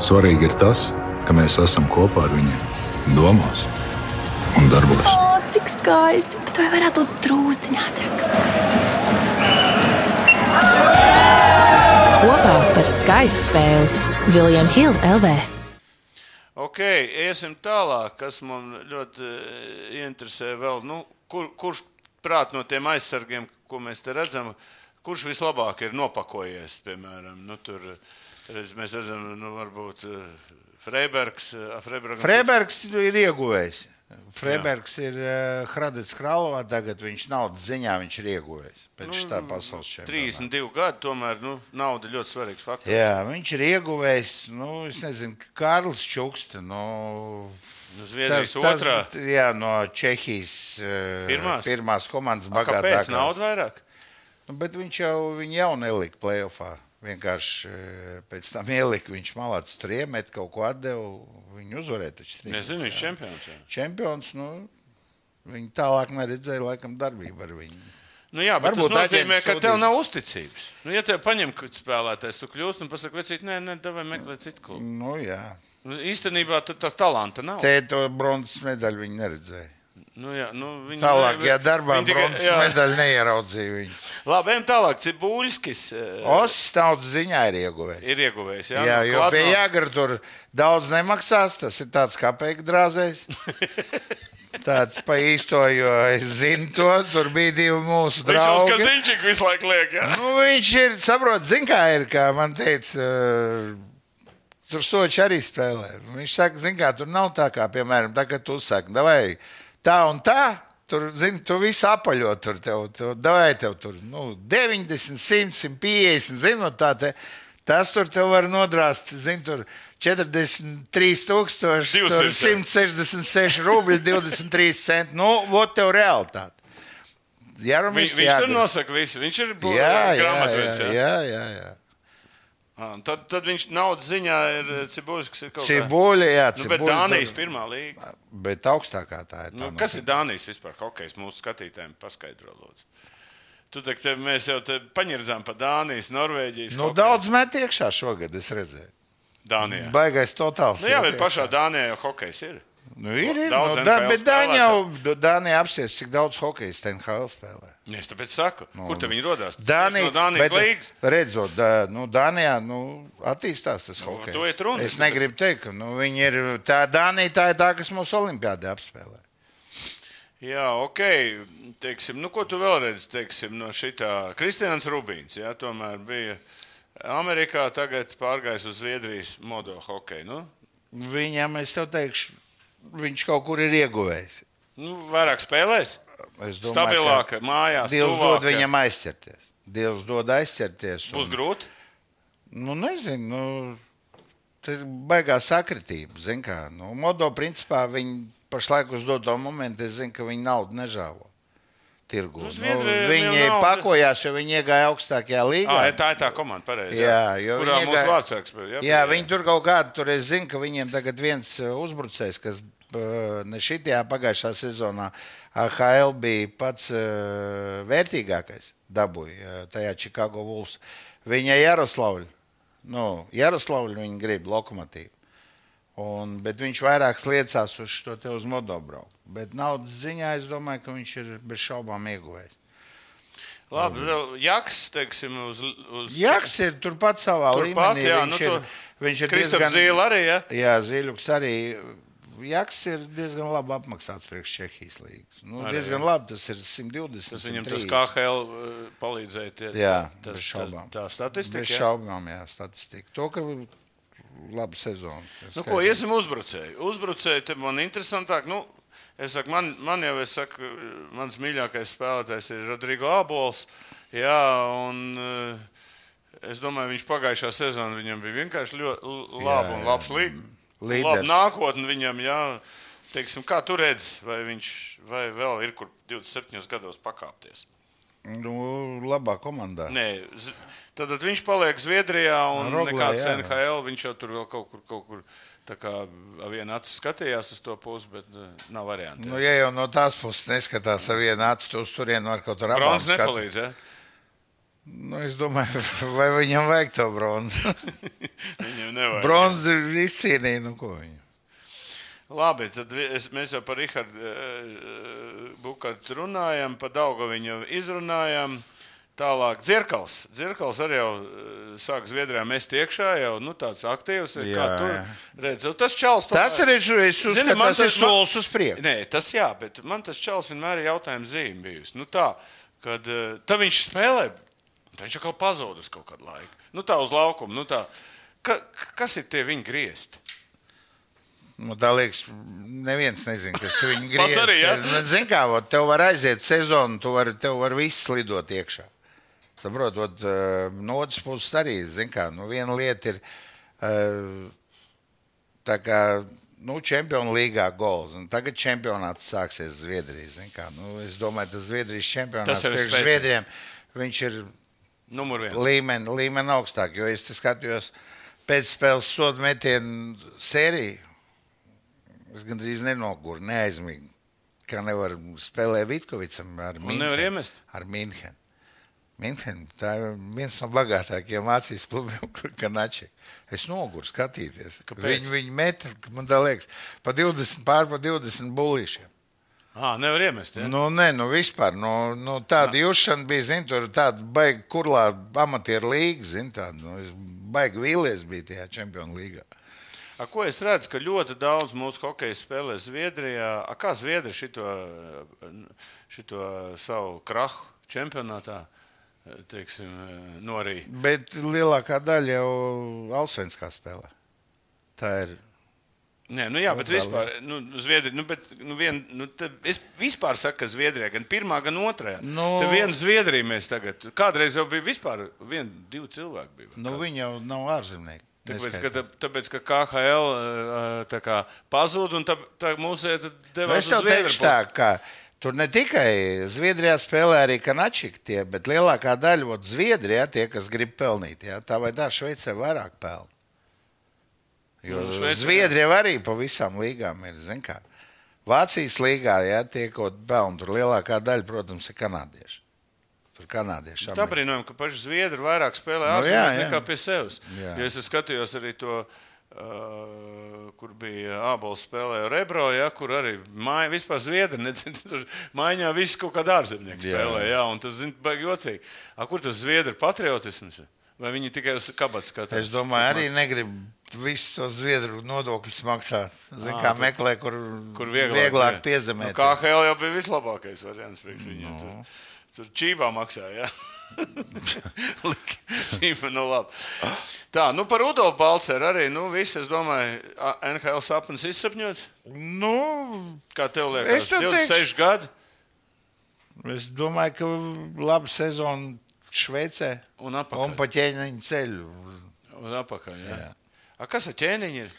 [SPEAKER 4] Svarīgi ir tas, ka mēs esam kopā ar viņiem, domās un darbos.
[SPEAKER 5] O, cik skaisti! Bet vai varētu būt drūzti ātrāk?
[SPEAKER 6] Kopā par skaistu spēli Viljams Hilde LV.
[SPEAKER 2] Ok, iesim tālāk, kas man ļoti eh, interesē. Vēl, nu, kur, kurš prāt no tiem aizsargiem, ko mēs te redzam, kurš vislabāk ir nopakojies? Piemēram, nu, tur redz, mēs redzam, nu, varbūt Freibergs.
[SPEAKER 3] Freibergs ir ieguvējis. Freibergs ir uh, Hradis Kralovā. Tagad viņš naudas ziņā viņš ir ieguvējis. Pēc nu, tā pasaules čempionāta.
[SPEAKER 2] 32 gadi, tomēr nu, nauda ļoti svarīgs faktors.
[SPEAKER 3] Jā, viņš ir ieguvējis. Nu, es nezinu, Kārlis Čukste. Nu,
[SPEAKER 2] Nu, Zviedrijas otrā.
[SPEAKER 3] jā, no Čehijas eh,
[SPEAKER 2] Pirmās?
[SPEAKER 3] pirmās komandas
[SPEAKER 2] A, Kāpēc
[SPEAKER 3] bagātākās.
[SPEAKER 2] nauda vairāk?
[SPEAKER 3] Nu, bet viņš jau, viņu jau nelika plēsofā. Vienkārši eh, pēc tam ielika, viņš malācis tur iemet, kaut ko atdeva. Viņu uzvarēja taču. trīs.
[SPEAKER 2] Nezinu, viņš čempions. Jā.
[SPEAKER 3] Čempions, nu, viņi tālāk neredzēja, laikam, darbību ar viņu.
[SPEAKER 2] Nu, jā, bet
[SPEAKER 3] Varbūt
[SPEAKER 2] Varbūt tas nozīmē,
[SPEAKER 3] aģents
[SPEAKER 2] ka
[SPEAKER 3] sūdīs.
[SPEAKER 2] tev nav uzticības. Nu, ja tev paņem kāds spēlētājs, tu kļūsi un pasaki, vecīt, nē, nē, davai meklēt citu klubu.
[SPEAKER 3] Nu, jā.
[SPEAKER 2] Nu, īstenībā tā, tā talanta nav.
[SPEAKER 3] Te to bronzas medaļu viņi neredzēja.
[SPEAKER 2] Nu, jā, nu, viņi,
[SPEAKER 3] Tālāk, ja darbā
[SPEAKER 2] viņi tikai-
[SPEAKER 3] bronzas
[SPEAKER 2] jā.
[SPEAKER 3] medaļu neieraudzīja, viņi.
[SPEAKER 2] Labi, ejam tālāk. Cibulskis eh,
[SPEAKER 3] Osts naudas ziņā ir ieguvējis.
[SPEAKER 2] ir ieguvējis. Jā,
[SPEAKER 3] Jā,
[SPEAKER 2] Nu,
[SPEAKER 3] jo
[SPEAKER 2] klāt
[SPEAKER 3] pie
[SPEAKER 2] nav-
[SPEAKER 3] Jāgara tur daudz nemaksās. Tas ir tāds kā
[SPEAKER 2] <laughs>
[SPEAKER 3] pēkdrāzējs. Tāds pa īsto, jo es zinu to. Tur bija divi mūsu
[SPEAKER 2] Viņš jau
[SPEAKER 3] draugi.
[SPEAKER 2] skaziņšķīgi visu laiku liek. Jā.
[SPEAKER 3] Nu, viņš ir, saprot, zina, kā ir, kā man teica. uh, Tur soči arī spēlē. Nu, Viņš saka, zina, kā tur nav tā, kā, piemēram, tā, ka tu saki, vai tā un tā. Tur, zini, tu visu apaļo tur, tev, tev, davai tev tur nu, 90, 100, 150, zinu, nu, tā te, tas tur tev var nodrāst, zini, tur 43,
[SPEAKER 2] 200.
[SPEAKER 3] 166 rubļi, 23 centi. Nu, vot tev realitāte. nu, Jā,
[SPEAKER 2] Vi, viņš tur nosaka visu. Viņš ir bl-
[SPEAKER 3] Jā, jā,
[SPEAKER 2] grāmatvedis.
[SPEAKER 3] jā,
[SPEAKER 2] jā.
[SPEAKER 3] jā, jā, jā.
[SPEAKER 2] Ā, Tad, tad viņš naudas ziņā ir Cibulskis. Ir kaut kā-
[SPEAKER 3] Cibuļi, jā,
[SPEAKER 2] Nu, bet
[SPEAKER 3] cibuļi,
[SPEAKER 2] Dānijas
[SPEAKER 3] tur-
[SPEAKER 2] pirmā līnija.
[SPEAKER 3] Bet augstākā tā ir. Tā,
[SPEAKER 2] Nu, kas ir Dānijas vispār? Hokejs mūsu skatītājiem paskaidro. Lūdzu. Tu, tā, tā, mēs jau te paņirdzām pa Dānijas, Norvēģijas.
[SPEAKER 3] Nu,
[SPEAKER 2] hokeju.
[SPEAKER 3] daudz met iekšā šogad, es redzēju.
[SPEAKER 2] Dānijā.
[SPEAKER 3] Baigais totāls.
[SPEAKER 2] Nu, jā,
[SPEAKER 3] iet
[SPEAKER 2] bet
[SPEAKER 3] iekšā.
[SPEAKER 2] pašā Dānijā jau hokejs ir.
[SPEAKER 3] Nu, ir, ir.
[SPEAKER 2] daudz
[SPEAKER 3] nu, da,
[SPEAKER 2] NHL
[SPEAKER 3] bet Dāņi jau, Dāņi apsies, cik daudz hokeja Stenhāla spēlē.
[SPEAKER 2] Nu, Es tāpēc saku, no, kur te viņi rodas?
[SPEAKER 3] Dānija,
[SPEAKER 2] no Dānijas bet... līnijas.
[SPEAKER 3] redzot, dā, nu, Dānijā nu, attīstās tas
[SPEAKER 2] Nu,
[SPEAKER 3] hockey.
[SPEAKER 2] to iet runa,
[SPEAKER 3] Es
[SPEAKER 2] tāpēc-
[SPEAKER 3] negribu teikt, ka nu, viņi ir tā Dānija, tā ir tā, kas mūsu olimpiādē apspēlē.
[SPEAKER 2] Jā, ok. Teiksim, nu, ko tu vēl redzi teiksim, no šitā? Kristians Rubīns jā, tomēr bija Amerikā, tagad pārgājis uz Zviedrijas modo hokeju. Nu?
[SPEAKER 3] Viņam, es tev teikšu, viņš kaut kur ir ieguvējis.
[SPEAKER 2] Nu, vairāk spēlēs,
[SPEAKER 3] Es domāju, ka-
[SPEAKER 2] stabilāk, mājās.
[SPEAKER 3] Dievs
[SPEAKER 2] tuvāk,
[SPEAKER 3] dod viņam aizķerties. Dievs dod aizķerties.
[SPEAKER 2] Būs grūti.
[SPEAKER 3] Nu, nezinu, nu, tas ir baigā sakritība. Zin Kā, nu, modo principā viņi pašlaik uz doto momentu, es zinu, ka viņi naudu nežālo. Tirgu.
[SPEAKER 2] Nu,
[SPEAKER 3] Nu,
[SPEAKER 2] Zviedrijiem
[SPEAKER 3] viņi
[SPEAKER 2] jau nav-
[SPEAKER 3] pakojās, jo viņi iegāja augstākajā līnijā.
[SPEAKER 2] À, Ah, tā ir tā komanda, pareizi.
[SPEAKER 3] Jā, jo
[SPEAKER 2] kurā
[SPEAKER 3] viņi
[SPEAKER 2] mūsu
[SPEAKER 3] iegāja-
[SPEAKER 2] vārdsargs bija.
[SPEAKER 3] Jā, viņi tur kaut kādā tur es zinu, ka viņiem tagad viens eh, uzbrucējs, kas eh, ne šitajā pagājušā sezonā AHL bija pats eh, vērtīgākais, dabūja eh, tajā Chicago Wolves. Viņa Jaroslavļa, nu, Jaroslavļa viņa grib lokomotīvu. Un, bet viņš vairāk liecās uz to te uz modobrauku. Bet naudas ziņā es domāju, ka viņš ir bez šaubām ieguvējis.
[SPEAKER 2] Labi, vēl Jaks, teiksim, uz. uz
[SPEAKER 3] Jaks ir turpat savā
[SPEAKER 2] Turpat,
[SPEAKER 3] līmenī.
[SPEAKER 2] jā,
[SPEAKER 3] viņš
[SPEAKER 2] nu
[SPEAKER 3] ir,
[SPEAKER 2] to-
[SPEAKER 3] viņš ir
[SPEAKER 2] Kristofers
[SPEAKER 3] diezgan
[SPEAKER 2] diezgan... Zīle arī, jā.
[SPEAKER 3] Jā, Zīļuks arī. Jaks ir diezgan labi apmaksāts priekš Čehijas līnijas. Nu,
[SPEAKER 2] Arī,
[SPEAKER 3] diezgan labi, tas ir 120.
[SPEAKER 2] Tas viņam tas
[SPEAKER 3] 130.
[SPEAKER 2] KL eh, palīdzēja. Tie,
[SPEAKER 3] Jā,
[SPEAKER 2] tas,
[SPEAKER 3] bez šaubām.
[SPEAKER 2] Tā, tā statistika.
[SPEAKER 3] Bez
[SPEAKER 2] jā.
[SPEAKER 3] šaubām, jā, statistika. To, ka laba sezona.
[SPEAKER 2] Nu, ko iesim uzbrucēju? Uzbrucēju te man interesantāk. Nu, Es saku, man, man jau, es saku, mans mīļākais spēlētājs ir Rodrigo Abols. Jā, un eh, es domāju, viņš pagājušā sezonā viņam bija vienkārši ļoti labi
[SPEAKER 3] Jā, Mm.
[SPEAKER 2] un
[SPEAKER 3] jā.
[SPEAKER 2] labs līdz.
[SPEAKER 3] Līderis.
[SPEAKER 2] Labi, nākotne viņam, jā, teiksim, kā tu redz, vai viņš vai vēl ir kur 27 gados pakāpties.
[SPEAKER 3] Nu, labā komandā.
[SPEAKER 2] Nē, z- tad, tad viņš paliek Zviedrijā un
[SPEAKER 3] Roglē,
[SPEAKER 2] nekāds
[SPEAKER 3] jā. nu.
[SPEAKER 2] NHL. Viņš jau tur vēl kaut kur, kaut kur tā kā viena acis skatījās uz to pusi, bet eh, nav variantu.
[SPEAKER 3] Nu, ja jau no tās puses neskatās, ar vienu acu tu uz turieni var kaut kur
[SPEAKER 2] Brons
[SPEAKER 3] apskatīt.
[SPEAKER 2] nepalīdz. Ja?
[SPEAKER 3] Nu, es domāju, <laughs> vai viņam vajag to bronzu.
[SPEAKER 2] Viņam nevajag.
[SPEAKER 3] Bronzu ir izcīnījis, nu ko viņa.
[SPEAKER 2] Labi, tad vi- es, mēs jau par Rahardu Bukārtu runājam, par Daugaviņu izrunājam. Tālāk, Dzirkals. Dzirkals arī jau eh, sāk Zviedrijā mest iekšā, jau nu, tāds aktīvs. Jā,
[SPEAKER 3] Jā,
[SPEAKER 2] kā tur
[SPEAKER 3] jā.
[SPEAKER 2] redzat, tas čels.
[SPEAKER 3] Tas
[SPEAKER 2] tomēr-
[SPEAKER 3] arī ir. Es
[SPEAKER 2] Zini,
[SPEAKER 3] uzskatu,
[SPEAKER 2] man
[SPEAKER 3] tas ir
[SPEAKER 2] tas- man-
[SPEAKER 3] solis uz priekšu.
[SPEAKER 2] Nē, tas jā, bet man tas čels vienmēr ir jautājums zīme bijusi. Nu, tā, kad eh, tā viņš spēlē, tad viņš atkal pazudus kaut kādu laiku. Nu, tā uz laukuma. Nu, tā. Ka, kas ir tie viņa griezti?
[SPEAKER 3] Nu, tā liekas, neviens nezina, kas
[SPEAKER 2] <laughs>
[SPEAKER 3] viņu grib.
[SPEAKER 2] Pats arī, ja?
[SPEAKER 3] Zini, kā vot, tev var aiziet sezonu, tu vari, tev var viss lidot iekšā. Saprotot, no otras puses arī, zini, kā nu, viena lieta ir. eh, Tā kā nu, Čempionu līgā gols. un Tagad čempionāts sāksies Zviedrijā. zini kā. Nu, es domāju, tas Zviedrijas čempionāts
[SPEAKER 2] Tas jau ir
[SPEAKER 3] priekš
[SPEAKER 2] spēcīgi.
[SPEAKER 3] Zviedrijiem viņš ir
[SPEAKER 2] Numur viens.
[SPEAKER 3] līmeni, līmeni augstāk. Jo es te skatījos pēc spēles sodu metienu sēriju. Es gandrīz nenoguru, neaizmigu. Kā nevar spēlēt Vitkovicam ar
[SPEAKER 2] Un nevar
[SPEAKER 3] Mīnhenu.
[SPEAKER 2] iemest?
[SPEAKER 3] Ar Mīnhenu. Mīnhen, tā ir viens no bagātākajiem acīs klubiem, kur kanāči. Es noguru skatīties.
[SPEAKER 2] Kāpēc?
[SPEAKER 3] Viņi, viņi met, man tā liekas, pa 20, pār pa 20 bulīšiem.
[SPEAKER 2] Ah, nevar iemest. Ja?
[SPEAKER 3] Nu, nē, nu vispār. Nu, nu, tāda jūšana bija, zina, tur tāda baigta kurlā amatieru līga, zina, tāda. Nu, es baigi vīlies bija tajā čempionu līgā.
[SPEAKER 2] A, ko es redzu, ka ļoti daudz mūsu hokeja spēlē Zviedrijā. A, kā Zviedri šito, šito savu krahu čempionātā eh, teiksim, norīja?
[SPEAKER 3] Bet lielākā daļa jau Alsvenskā spēlē. Tā ir.
[SPEAKER 2] Nē, nu jā, bet
[SPEAKER 3] vēl, jā.
[SPEAKER 2] vispār, nu, Zviedri, nu, bet, nu, vien, nu, te- es vispār saku, ka Zviedrijā gan pirmā, gan otrā.
[SPEAKER 3] Nu.
[SPEAKER 2] Te vienu Zviedriju mēs tagad, kādreiz jau bija vispār, viena, divi cilvēki bija.
[SPEAKER 3] Nu, viņi jau nav ārzemnieki.
[SPEAKER 2] Tāpēc
[SPEAKER 3] Neskaitā.
[SPEAKER 2] ka, tā- tāpēc, ka KHL eh, tā kā, pazuda un tā, tā mūsu
[SPEAKER 3] Nu,
[SPEAKER 2] devās
[SPEAKER 3] Es tev
[SPEAKER 2] uz Zviedru.
[SPEAKER 3] teikšu, tā, ka tur ne tikai Zviedrijā spēlē arī kanāčikti, bet lielākā daļa no Zviedrijā tie, kas grib pelnīt, jā, tā vai tā Šveicē vairāk pelna. Jo
[SPEAKER 2] Nu,
[SPEAKER 3] nu,
[SPEAKER 2] Šveicē, jā.
[SPEAKER 3] Zviedrija arī pa visām līgām ir. zini kā. Vācijas līgā jā, tie, ko pelna, tur lielākā daļa, protams, ir kanādieši. Tur kanādieši
[SPEAKER 2] Tā
[SPEAKER 3] Amerikā.
[SPEAKER 2] brīnām, ka paši zviedri vairāk spēlē
[SPEAKER 3] Nu,
[SPEAKER 2] ārzemēs
[SPEAKER 3] jā, jā.
[SPEAKER 2] nekā pie sevis.
[SPEAKER 3] Jā.
[SPEAKER 2] Jo es skatījos arī to. Uh, kur bija ābols spēlēja Rebro, ja, kur arī māja, vispār zviedri, <laughs> nezinu, tur mājā viss kaut kādā ārzemnieks
[SPEAKER 3] Jā.
[SPEAKER 2] spēlēja, jā, un tas, zin, baigi jocīgi. A, kur tas zviedri patriotisms ir? Vai viņi tikai uz kabats skatās?
[SPEAKER 3] Es domāju, arī negribu visus tos Zviedru nodokļus maksāt. Zini, kā meklē, kur,
[SPEAKER 2] Kur vieglāk,
[SPEAKER 3] vieglāk
[SPEAKER 2] jā.
[SPEAKER 3] piezemēt.
[SPEAKER 2] Nu, kā HL jau bija vislabākais variants priekš
[SPEAKER 3] Nu.
[SPEAKER 2] viņiem. No. Tur čībā
[SPEAKER 3] <laughs>
[SPEAKER 2] maksāja. Čība, nu labi. Tā, nu par Rudolfu Balceru arī. Nu, viss, es domāju, a- NHL sapnis izsapņots.
[SPEAKER 3] Nu,
[SPEAKER 2] Kā tev
[SPEAKER 3] Es
[SPEAKER 2] liekas,
[SPEAKER 3] tev
[SPEAKER 2] 26 gadi
[SPEAKER 3] Es domāju, ka laba sezona Šveicē
[SPEAKER 2] un
[SPEAKER 3] un
[SPEAKER 2] apakšā.
[SPEAKER 3] pa ķēniņu ceļu.
[SPEAKER 2] Un apakā, jā. Jā. A, kas ar ķēniņu ir?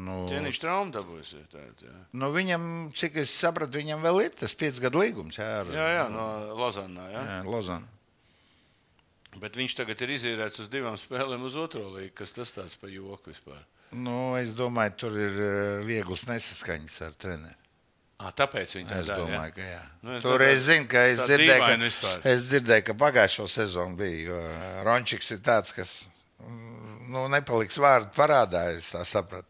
[SPEAKER 3] Nu,
[SPEAKER 2] Ķēniņš traumu dabūjis. ir tāda, Jā.
[SPEAKER 3] nu viņam, cik es sapratu, viņam vēl ir tas piecgadu gadu līgums jā, ar
[SPEAKER 2] jā, jā, no Lazanā. Jā.
[SPEAKER 3] jā, Lozanu.
[SPEAKER 2] Bet viņš tagad ir izīrēts uz divām spēlēm uz otro līgu, kas tas tāds pa joku vispār.
[SPEAKER 3] Nu, es domāju, tur ir eh, vieglas nesaskaņas ar treneriem.
[SPEAKER 2] À, tāpēc viņi tā
[SPEAKER 3] Es
[SPEAKER 2] dara, jā?
[SPEAKER 3] domāju, ka jā.
[SPEAKER 2] Nu,
[SPEAKER 3] Nu,
[SPEAKER 2] es
[SPEAKER 3] Tur
[SPEAKER 2] tā-
[SPEAKER 3] es zinu, ka es
[SPEAKER 2] tā
[SPEAKER 3] dzirdēju,
[SPEAKER 2] dīvaini
[SPEAKER 3] ka,
[SPEAKER 2] vispār.
[SPEAKER 3] es dzirdēju, ka pagājušo sezonu bija. Jo eh, Rončiks ir tāds, kas mm, nu, nepaliks vārdu parādā, es tā sapratu.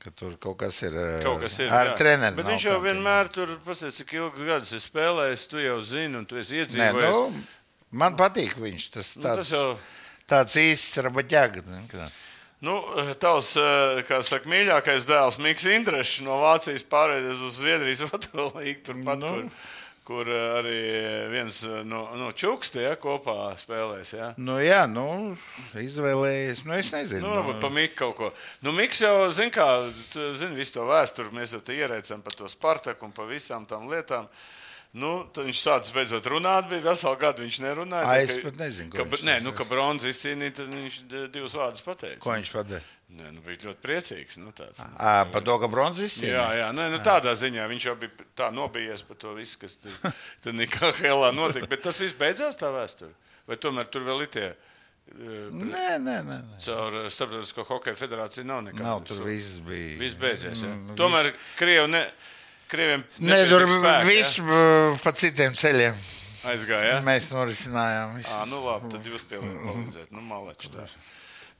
[SPEAKER 3] Ka tur kaut kas ir, eh,
[SPEAKER 2] Kaut kas ir
[SPEAKER 3] ar
[SPEAKER 2] jā.
[SPEAKER 3] treneriem.
[SPEAKER 2] Bet viņš jau vienmēr tur, paskatās, cik ilgi gadus ir spēlējis, tu jau zini, un tu esi
[SPEAKER 3] Nē,
[SPEAKER 2] iedzīvojis.
[SPEAKER 3] nu, man patīk viņš. Tas,
[SPEAKER 2] Nu,
[SPEAKER 3] tāds,
[SPEAKER 2] tas jau-
[SPEAKER 3] tāds īsts rabaķēga.
[SPEAKER 2] Nu, tavs, eh, kā saka, <laughs> mīļākais dēls, Mikls Indrešs no Vācijas pārējais uz Zviedrijas otru līgu, turpat,
[SPEAKER 3] Nu.
[SPEAKER 2] kur, kur eh, arī viens eh, no, no čukstiem ja, kopā spēlēs. Ja.
[SPEAKER 3] Nu, jā, nu, izvēlējies. Nu, es nezinu.
[SPEAKER 2] Nu, varbūt pa Miku kaut ko. Nu, Miks jau zina, kā tu zini visu to vēsturi. Mēs jau te ierēcām par to Spartaku un par visām tām lietām. Nu, tad viņš sācis beidzot runāt. Bija veselu gadu viņš nerunāja.
[SPEAKER 3] Ai,
[SPEAKER 2] Tā,
[SPEAKER 3] es
[SPEAKER 2] ka-
[SPEAKER 3] pat nezinu, ko
[SPEAKER 2] Ka,
[SPEAKER 3] viņš
[SPEAKER 2] nē,
[SPEAKER 3] teica.
[SPEAKER 2] nu, ka bronzas izcīnīja, tad viņš d- divus vārdus pateica.
[SPEAKER 3] Ko Ah, viņš padara?
[SPEAKER 2] Nē, nu, bija ļoti priecīgs. Nu, tāds.
[SPEAKER 3] À, par to, ka bronzas
[SPEAKER 2] Jā, jā nē,
[SPEAKER 3] Ah.
[SPEAKER 2] nu, tādā ziņā viņš jau bija tā nobijies par to visu, kas
[SPEAKER 3] <laughs>
[SPEAKER 2] tur tur nekā Helā notika. Bet tas viss beidzās tā vēsture. Vai tomēr tur vēl ir tie eh,
[SPEAKER 3] Nē, nē, nē. nē.
[SPEAKER 2] caur eh, Starptautisko hokeja federāciju nav nekāds.
[SPEAKER 3] Nav tur viss bija.
[SPEAKER 2] Viss beidzies. Ja?
[SPEAKER 3] Mm,
[SPEAKER 2] Tomēr
[SPEAKER 3] viss-
[SPEAKER 2] Krievi ne, krieviem
[SPEAKER 3] Nē, tur
[SPEAKER 2] nepietika spēki,
[SPEAKER 3] viss
[SPEAKER 2] ja?
[SPEAKER 3] b- pa citiem ceļiem.
[SPEAKER 2] aizgāja.
[SPEAKER 3] Ja?
[SPEAKER 2] Ja?
[SPEAKER 3] Mēs Mm-hmm. norisinājām visu.
[SPEAKER 2] À, nu labi, tad jūs pielieciet palīdzēt. Nu, maleči, tā.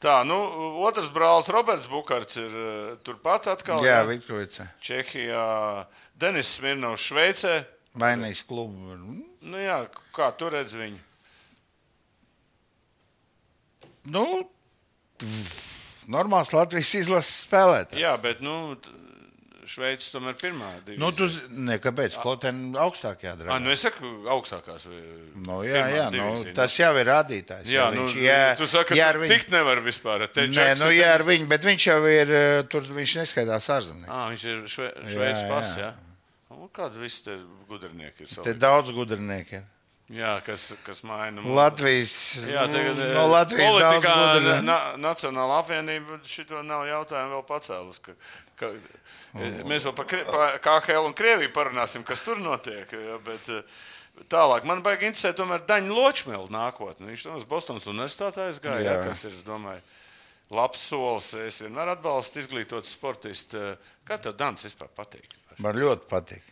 [SPEAKER 2] tā, nu, otrs brālis Roberts Bukārts ir eh, turpat atkal.
[SPEAKER 3] Jā,
[SPEAKER 2] ja?
[SPEAKER 3] Vitkovica.
[SPEAKER 2] Čehijā, Denis Smirnovs, Šveicē.
[SPEAKER 3] Vainīgs klubu. Nu,
[SPEAKER 2] Nu, jā, kā tu redz viņu?
[SPEAKER 3] Nu, pff, normāls Latvijas izlases spēlētājs.
[SPEAKER 2] Jā, bet nu, t- Šveice tomēr pirmā. divīzija.
[SPEAKER 3] Nu, tu zini, kāpēc? Kloten augstāk
[SPEAKER 2] Ā,
[SPEAKER 3] jādara.
[SPEAKER 2] Ah. nu, es saku, augstākās. vai-
[SPEAKER 3] Nu, jā,
[SPEAKER 2] pirmā
[SPEAKER 3] jā
[SPEAKER 2] divīzija,
[SPEAKER 3] nu, tas jau ir rādītājs.
[SPEAKER 2] Jā, nu,
[SPEAKER 3] viņš,
[SPEAKER 2] jā, tu saki,
[SPEAKER 3] jā,
[SPEAKER 2] ka
[SPEAKER 3] ar viņu-
[SPEAKER 2] tikt nevar vispār. Te
[SPEAKER 3] Nē,
[SPEAKER 2] Jackson-
[SPEAKER 3] nu, jā, ar viņu, bet viņš jau ir eh, tur, viņš neskaidās ārzemnieks.
[SPEAKER 2] Ā, viņš ir šve, šveicis
[SPEAKER 3] jā.
[SPEAKER 2] pats. jā. Nu, Kādi visi te gudrinieki ir?
[SPEAKER 3] Te
[SPEAKER 2] Te...
[SPEAKER 3] daudz gudrinieki. ir.
[SPEAKER 2] Jā, kas, kas maina mums.
[SPEAKER 3] Latvijas,
[SPEAKER 2] Jā, tagad,
[SPEAKER 3] nu,
[SPEAKER 2] eh,
[SPEAKER 3] no Latvijas daudz
[SPEAKER 2] politikā
[SPEAKER 3] gudrinieki.
[SPEAKER 2] na, Nacionāla apvienība šito nav jautājumu vēl pacēlus. Ka, ka,
[SPEAKER 3] Oh.
[SPEAKER 2] eh, mēs vēl par Kri- par KHL un Krieviju parunāsim, kas tur notiek. eh, Bet, eh, Tālāk man baigi interesē, tomēr Daņa Ločmēla nākotne. Viņš tomēr uz Bostonas universitātē aizgāja, jā.
[SPEAKER 3] Jā.
[SPEAKER 2] Jā, kas ir, domāju, labs solis. Es vienmēr atbalstu izglītotu sportistu. Kā tev dans vispār patīk?
[SPEAKER 3] Man ļoti patīk.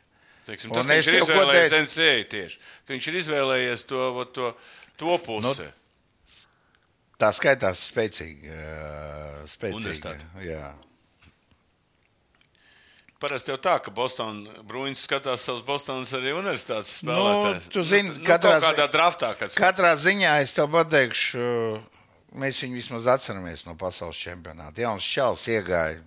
[SPEAKER 2] Teiksim,
[SPEAKER 3] Un
[SPEAKER 2] tas, ka
[SPEAKER 3] es
[SPEAKER 2] viņš ir
[SPEAKER 3] tev ko
[SPEAKER 2] izvēlējies
[SPEAKER 3] teicu.
[SPEAKER 2] NCA tieši. ka Viņš ir izvēlējies to, vot to, to pusi.
[SPEAKER 3] Nu. Tā skaitās spēcīgi. eh, spēcīgi.
[SPEAKER 2] Universitāte.
[SPEAKER 3] Jā.
[SPEAKER 2] Nu, Parasti jau tā, ka Bostonas brūņš skatās savus Bostonas arī universitātes
[SPEAKER 3] Nu,
[SPEAKER 2] spēlētājus.
[SPEAKER 3] tu zini,
[SPEAKER 2] nu,
[SPEAKER 3] katrā
[SPEAKER 2] kaut kādā draftā, kad
[SPEAKER 3] Katrā ziņā es tev pateikšu, mēs viņu vismaz atceramies no pasaules čempionāta. Jā, un Šāls iegāja.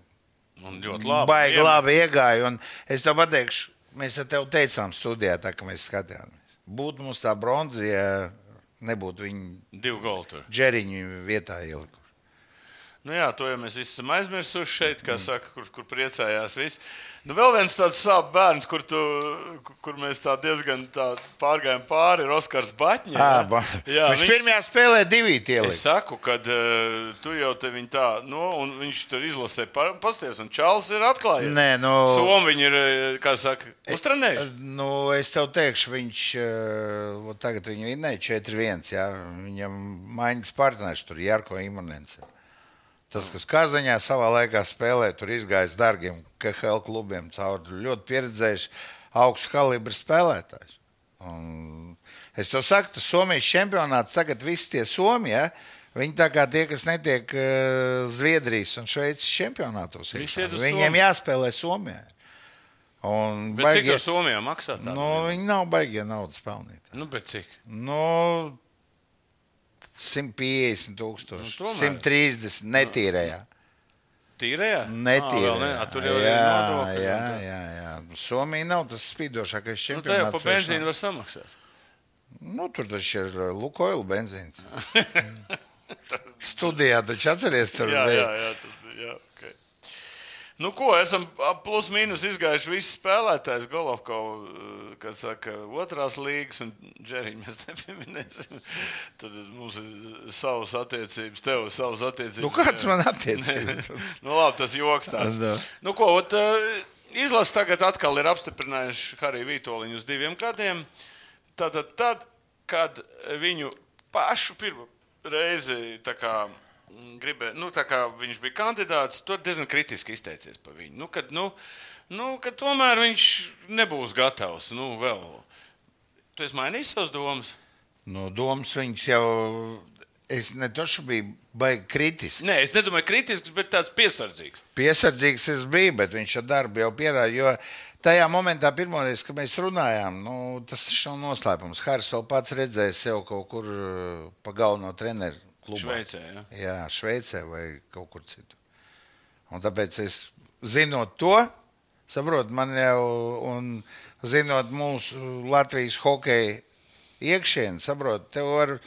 [SPEAKER 2] un ļoti labi.
[SPEAKER 3] Baigi labi iegāja. un Es tev pateikšu, mēs ar tevi teicām studijā, tā kā mēs skatījāmies. Būtu mums tā bronza, ja nebūtu viņu
[SPEAKER 2] Divi goli tur.
[SPEAKER 3] džeriņu vietā ieliku.
[SPEAKER 2] Nu jā, to jau mēs visi esam aizmirsuši šeit,
[SPEAKER 3] Mm.
[SPEAKER 2] kā saka, kur, kur priecājās visi. Nu, vēl viens tāds sāp bērns, kur, tu, kur mēs tā diezgan tā pārgājām pāri, ir Oskars Batņē.
[SPEAKER 3] Jā, Ah, ba...
[SPEAKER 2] jā,
[SPEAKER 3] viņš, viņš pirmajā spēlē divi
[SPEAKER 2] Es
[SPEAKER 3] ielika.
[SPEAKER 2] saku, ka uh, tu jau te viņu tā, nu, un viņš tur izlasē, pasties, un Čāls ir atklājis.
[SPEAKER 3] Nē, nu- E,
[SPEAKER 2] Somi viņi ir, eh, kā saka, uztrenējuši.
[SPEAKER 3] Nu, es tev teikšu, viņš eh, vot tagad viņu vinnēja 4-1. jā. Viņam maiņas partneris tur ir Jārko Imunence. Tas, kas Kazaņā savā laikā spēlēja, tur izgājis dārgiem KL klubiem cauri. Ļoti pieredzējuši, augsts kalibra spēlētājs. Un es to saku, tas Somijas čempionāts tagad viss tie Somijā. Viņi tā kā tie, kas netiek eh, Zviedrijas un Šveices čempionātos,
[SPEAKER 2] Visi iet uz
[SPEAKER 3] viņiem
[SPEAKER 2] Somiju.
[SPEAKER 3] jāspēlē Somijā. Un
[SPEAKER 2] Bet cik
[SPEAKER 3] baigi-
[SPEAKER 2] tas Somijā maksā? tā?
[SPEAKER 3] Nu, viņi nav baigti naudas pelnīt.
[SPEAKER 2] nu, bet cik?
[SPEAKER 3] Nu, 150
[SPEAKER 2] Nu,
[SPEAKER 3] tūkstoši.
[SPEAKER 2] tomēr.
[SPEAKER 3] 130 netīrējā.
[SPEAKER 2] Tīrējā? Ā,
[SPEAKER 3] Netīrējā.
[SPEAKER 2] vēl ne? Ā, Tur jau ir
[SPEAKER 3] jā,
[SPEAKER 2] nodokļi.
[SPEAKER 3] jā,
[SPEAKER 2] un tā.
[SPEAKER 3] jā, jā. Somija nav tas
[SPEAKER 2] Nu,
[SPEAKER 3] spīdošākais
[SPEAKER 2] tā jau
[SPEAKER 3] čempionāts.
[SPEAKER 2] pa benzīnu var samaksāt.
[SPEAKER 3] var... nu, tur taču ir uh,
[SPEAKER 2] <laughs>
[SPEAKER 3] Lukoil benzīns. Studijā taču atceries, tur
[SPEAKER 2] Jā, jā,
[SPEAKER 3] bija.
[SPEAKER 2] jā, tas bija, jā okay. Nu, ko esam ap plus mīnus izgājuši visi spēlētāji, Golovkovs, kas saka, otrās līgas, un Džerija mēs <laughs> nepieminēsim. Tad mums ir savas attiecības, tev ir savas attiecības.
[SPEAKER 3] Nu, kāds
[SPEAKER 2] <laughs>
[SPEAKER 3] man
[SPEAKER 2] Nē,
[SPEAKER 3] attiecas?
[SPEAKER 2] nu, labi, tas joks tāds.
[SPEAKER 3] Da.
[SPEAKER 2] Nu, ko, ot, eh, izlase tagad atkal ir apstiprinājuši Hariju Vitoļiņu uz diviem gadiem. Tātad, tad, kad viņu pašu pirmo reizi tā kā, mm, gribē, nu, tā kā viņš bija kandidāts, tur diezgan kritiski izteicies par viņu. Nu, kad, nu, nu, kad tomēr viņš nebūs gatavs nu, vēl. Tu esi mainījis savas domas?
[SPEAKER 3] Nu, domas viņas jau. Es ne tošu biju baigi kritisks.
[SPEAKER 2] Nē, es nedomāju, kritisks, bet tāds piesardzīgs.
[SPEAKER 3] piesardzīgs es biju, bet viņš ar darbu jau pierāda. Jo tajā momentā, pirmoreiz, kad mēs runājām, nu, tas taču nav noslēpums. Hārs vēl pats redzēja sev kaut kur eh, pa galveno treneru klubu.
[SPEAKER 2] Šveicē. Ja?
[SPEAKER 3] Jā, Šveicē vai kaut kur citur. Un tāpēc es zinot to, saprotu, man jau un zinot mūsu Latvijas hokeja iekšienu, saprotat, tev var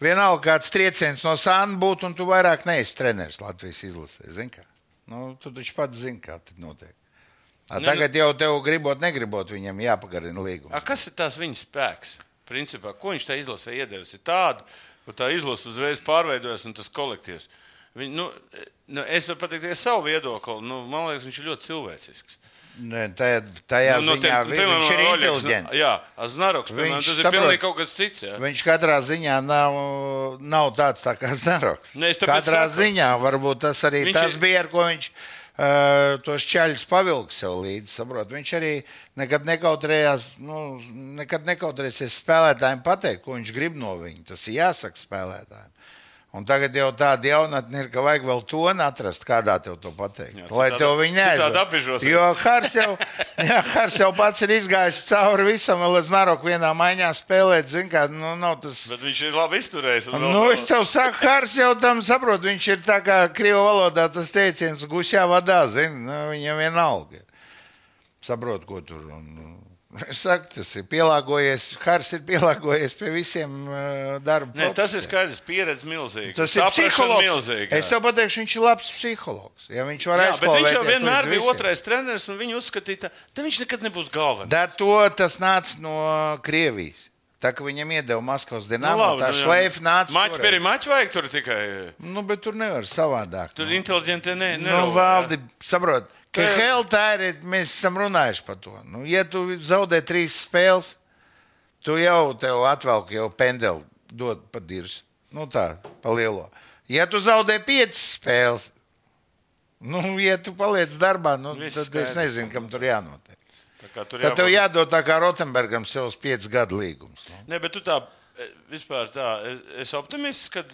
[SPEAKER 3] vienalga kāds trieciens no sāna būt, un tu vairāk neesi treneris Latvijas izlasē. Zini kā? Nu, tu taču pats zini, kā tas notiek. A,
[SPEAKER 2] Nu,
[SPEAKER 3] tagad jau tev gribot, negribot, viņam jāpagarina līgums.
[SPEAKER 2] A, kas ir tās viņa spēks? Principā, ko viņš tā izlasē iedevis? Ir tādu, ka tā izlase uzreiz pārveidojas un tas kolektīvs. Viņ, nu, e, nu, es varu pateikt tikai savu viedokli. Nu, man liekas, viņš ir ļoti cilvēcisks.
[SPEAKER 3] Nē, tajā Nu, tajā nu,
[SPEAKER 2] nu,
[SPEAKER 3] ziņā tiem, vi, viņš ir inteliģents.
[SPEAKER 2] Jā, Znaroks, piemēram,
[SPEAKER 3] Viņš
[SPEAKER 2] tas ir
[SPEAKER 3] saprot.
[SPEAKER 2] pilnīgi kaut kas cits. Jā.
[SPEAKER 3] Viņš katrā ziņā nav, nav tāds tā kā Znaroks.
[SPEAKER 2] Nē, Nu, es tāpēc
[SPEAKER 3] katrā
[SPEAKER 2] saku.
[SPEAKER 3] ziņā varbūt tas arī
[SPEAKER 2] Viņš
[SPEAKER 3] viņš tas
[SPEAKER 2] ir-
[SPEAKER 3] ir... bija, ar ko viņš uh, tos ceļus pavilka sev līdzi. Saprot? Viņš arī nekad nekautrējās, nu, nekad nekautrēsies spēlētājiem pateikt, ko viņš grib no viņa. Tas ir jāsaka spēlētājiem. Un tagad jau tāda jaunatne ir, ka vajag vēl to atrast, kādā tev to pateikt.
[SPEAKER 2] Jā,
[SPEAKER 3] Jā, lai
[SPEAKER 2] citādi-
[SPEAKER 3] tev viņa
[SPEAKER 2] citādi
[SPEAKER 3] neaizdomājas.
[SPEAKER 2] apbižosies.
[SPEAKER 3] Jo Hārs jau, <laughs> jā, Hārs jau pats ir izgājis cauri visam, vēl aiz Naroku vienā maiņā spēlēt. Zini, kā nu, nav tas.
[SPEAKER 2] Bet viņš ir labi izturējis. un vēl-
[SPEAKER 3] Nu, es tev saku, Hārs jau tam saprot. Viņš ir tā kā krievu valodā tas teiciens, gusjā vadā. Zini, nu, viņam vienalga. ir. Saprot, ko tur. Un, nu, <laughs> es saku, tas ir pielāgojies. Hārs ir pielāgojies pie visiem eh, darba
[SPEAKER 2] Nē, tas ir
[SPEAKER 3] procesiem.
[SPEAKER 2] skaidrs, pieredze milzīga.
[SPEAKER 3] Tas ir psihologs.
[SPEAKER 2] milzīgi.
[SPEAKER 3] Es tev pateikšu, viņš ir labs psihologs. Ja viņš var
[SPEAKER 2] Jā, bet
[SPEAKER 3] aizstāvēt,
[SPEAKER 2] viņš jau vienmēr bija otrais treneris, un viņš uzskatīja, ka viņš nekad nebūs galvenais.
[SPEAKER 3] Da, to tas nāca no Krievijas. Tā kā viņam iedeva Maskavas dīnāmu, nu, tā
[SPEAKER 2] jā.
[SPEAKER 3] šleifa nāca.
[SPEAKER 2] Maķi
[SPEAKER 3] toreiz.
[SPEAKER 2] pie maķa vajag tur tikai. eh,
[SPEAKER 3] Nu, bet tur nevar savādāk.
[SPEAKER 2] Tur inteliģenti ne.
[SPEAKER 3] Nu, valdi, saprot, ka
[SPEAKER 2] Tā-
[SPEAKER 3] Hell tā ir. Mēs esam runājuši par to. Nu, ja tu zaudē trīs spēles, tu jau tev atvelk jau pendeli, dod pa dirzi. Nu, tā, pa lielo. Ja tu zaudē piecas spēles, nu, ja tu paliec darbā, nu,
[SPEAKER 2] Viss
[SPEAKER 3] tad es
[SPEAKER 2] skaidrs.
[SPEAKER 3] nezinu, kam tur jānotiek.
[SPEAKER 2] Tur
[SPEAKER 3] Tad tev
[SPEAKER 2] jābūt-
[SPEAKER 3] jādod tā kā Rotenbergam sev uz piecus gadu līgums. Nu.
[SPEAKER 2] Ne, bet tu tā e, vispār tā, e, es optimists, kad,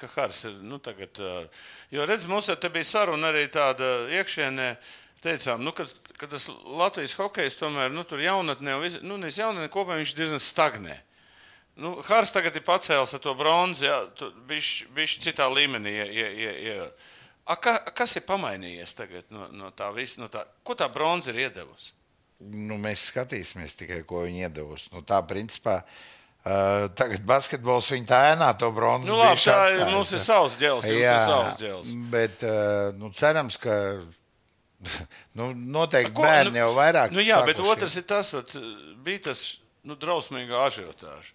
[SPEAKER 2] ka Hārs ir. Nu, tagad, e, jo, redz, mums ar te bija saruna arī tāda iekšienē. Teicām, nu, ka, ka tas Latvijas hokejs tomēr nu, tur jaunatnē, un visi- nu, nevis jaunatnē, kopumā viņš diezgan stagnē. Nu, Hārs tagad ir pacēlis ar to bronzu, jā, viņš citā līmenī. Ja, ja, ja, ja. A, ka, kas ir pamainījies tagad no, no tā visa? No tā, ko tā bronza ir iedevusi?
[SPEAKER 3] Nu, mēs skatīsimies tikai, ko viņi iedavusi. Nu, tā principā uh, tagad basketbols viņa tā ēnā to bronzas.
[SPEAKER 2] Nu, labi, tā ir, mums ir savs dēls, jums ir savs dēls.
[SPEAKER 3] Bet uh, nu, cerams, ka nu, noteikti
[SPEAKER 2] Ko,
[SPEAKER 3] ko, bērni nu, jau vairāk.
[SPEAKER 2] Nu, jā, bet
[SPEAKER 3] sākuši.
[SPEAKER 2] otrs ir tas, vat, bija tas nu, drausmīgs ažiotāžs.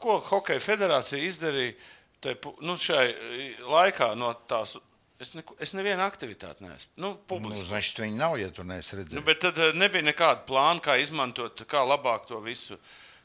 [SPEAKER 2] Ko Hokeja federācija izdarīja te, pu- nu, šai e, laikā no tās? Es, neko, es nevienu aktivitāti neesmu. Nu,
[SPEAKER 3] Nu,
[SPEAKER 2] publiski.
[SPEAKER 3] Znači, viņi nav, ja tu neesi
[SPEAKER 2] Nu,
[SPEAKER 3] redzējis.
[SPEAKER 2] bet tad e, nebija nekāda plāna, kā izmantot, kā labāk to visu.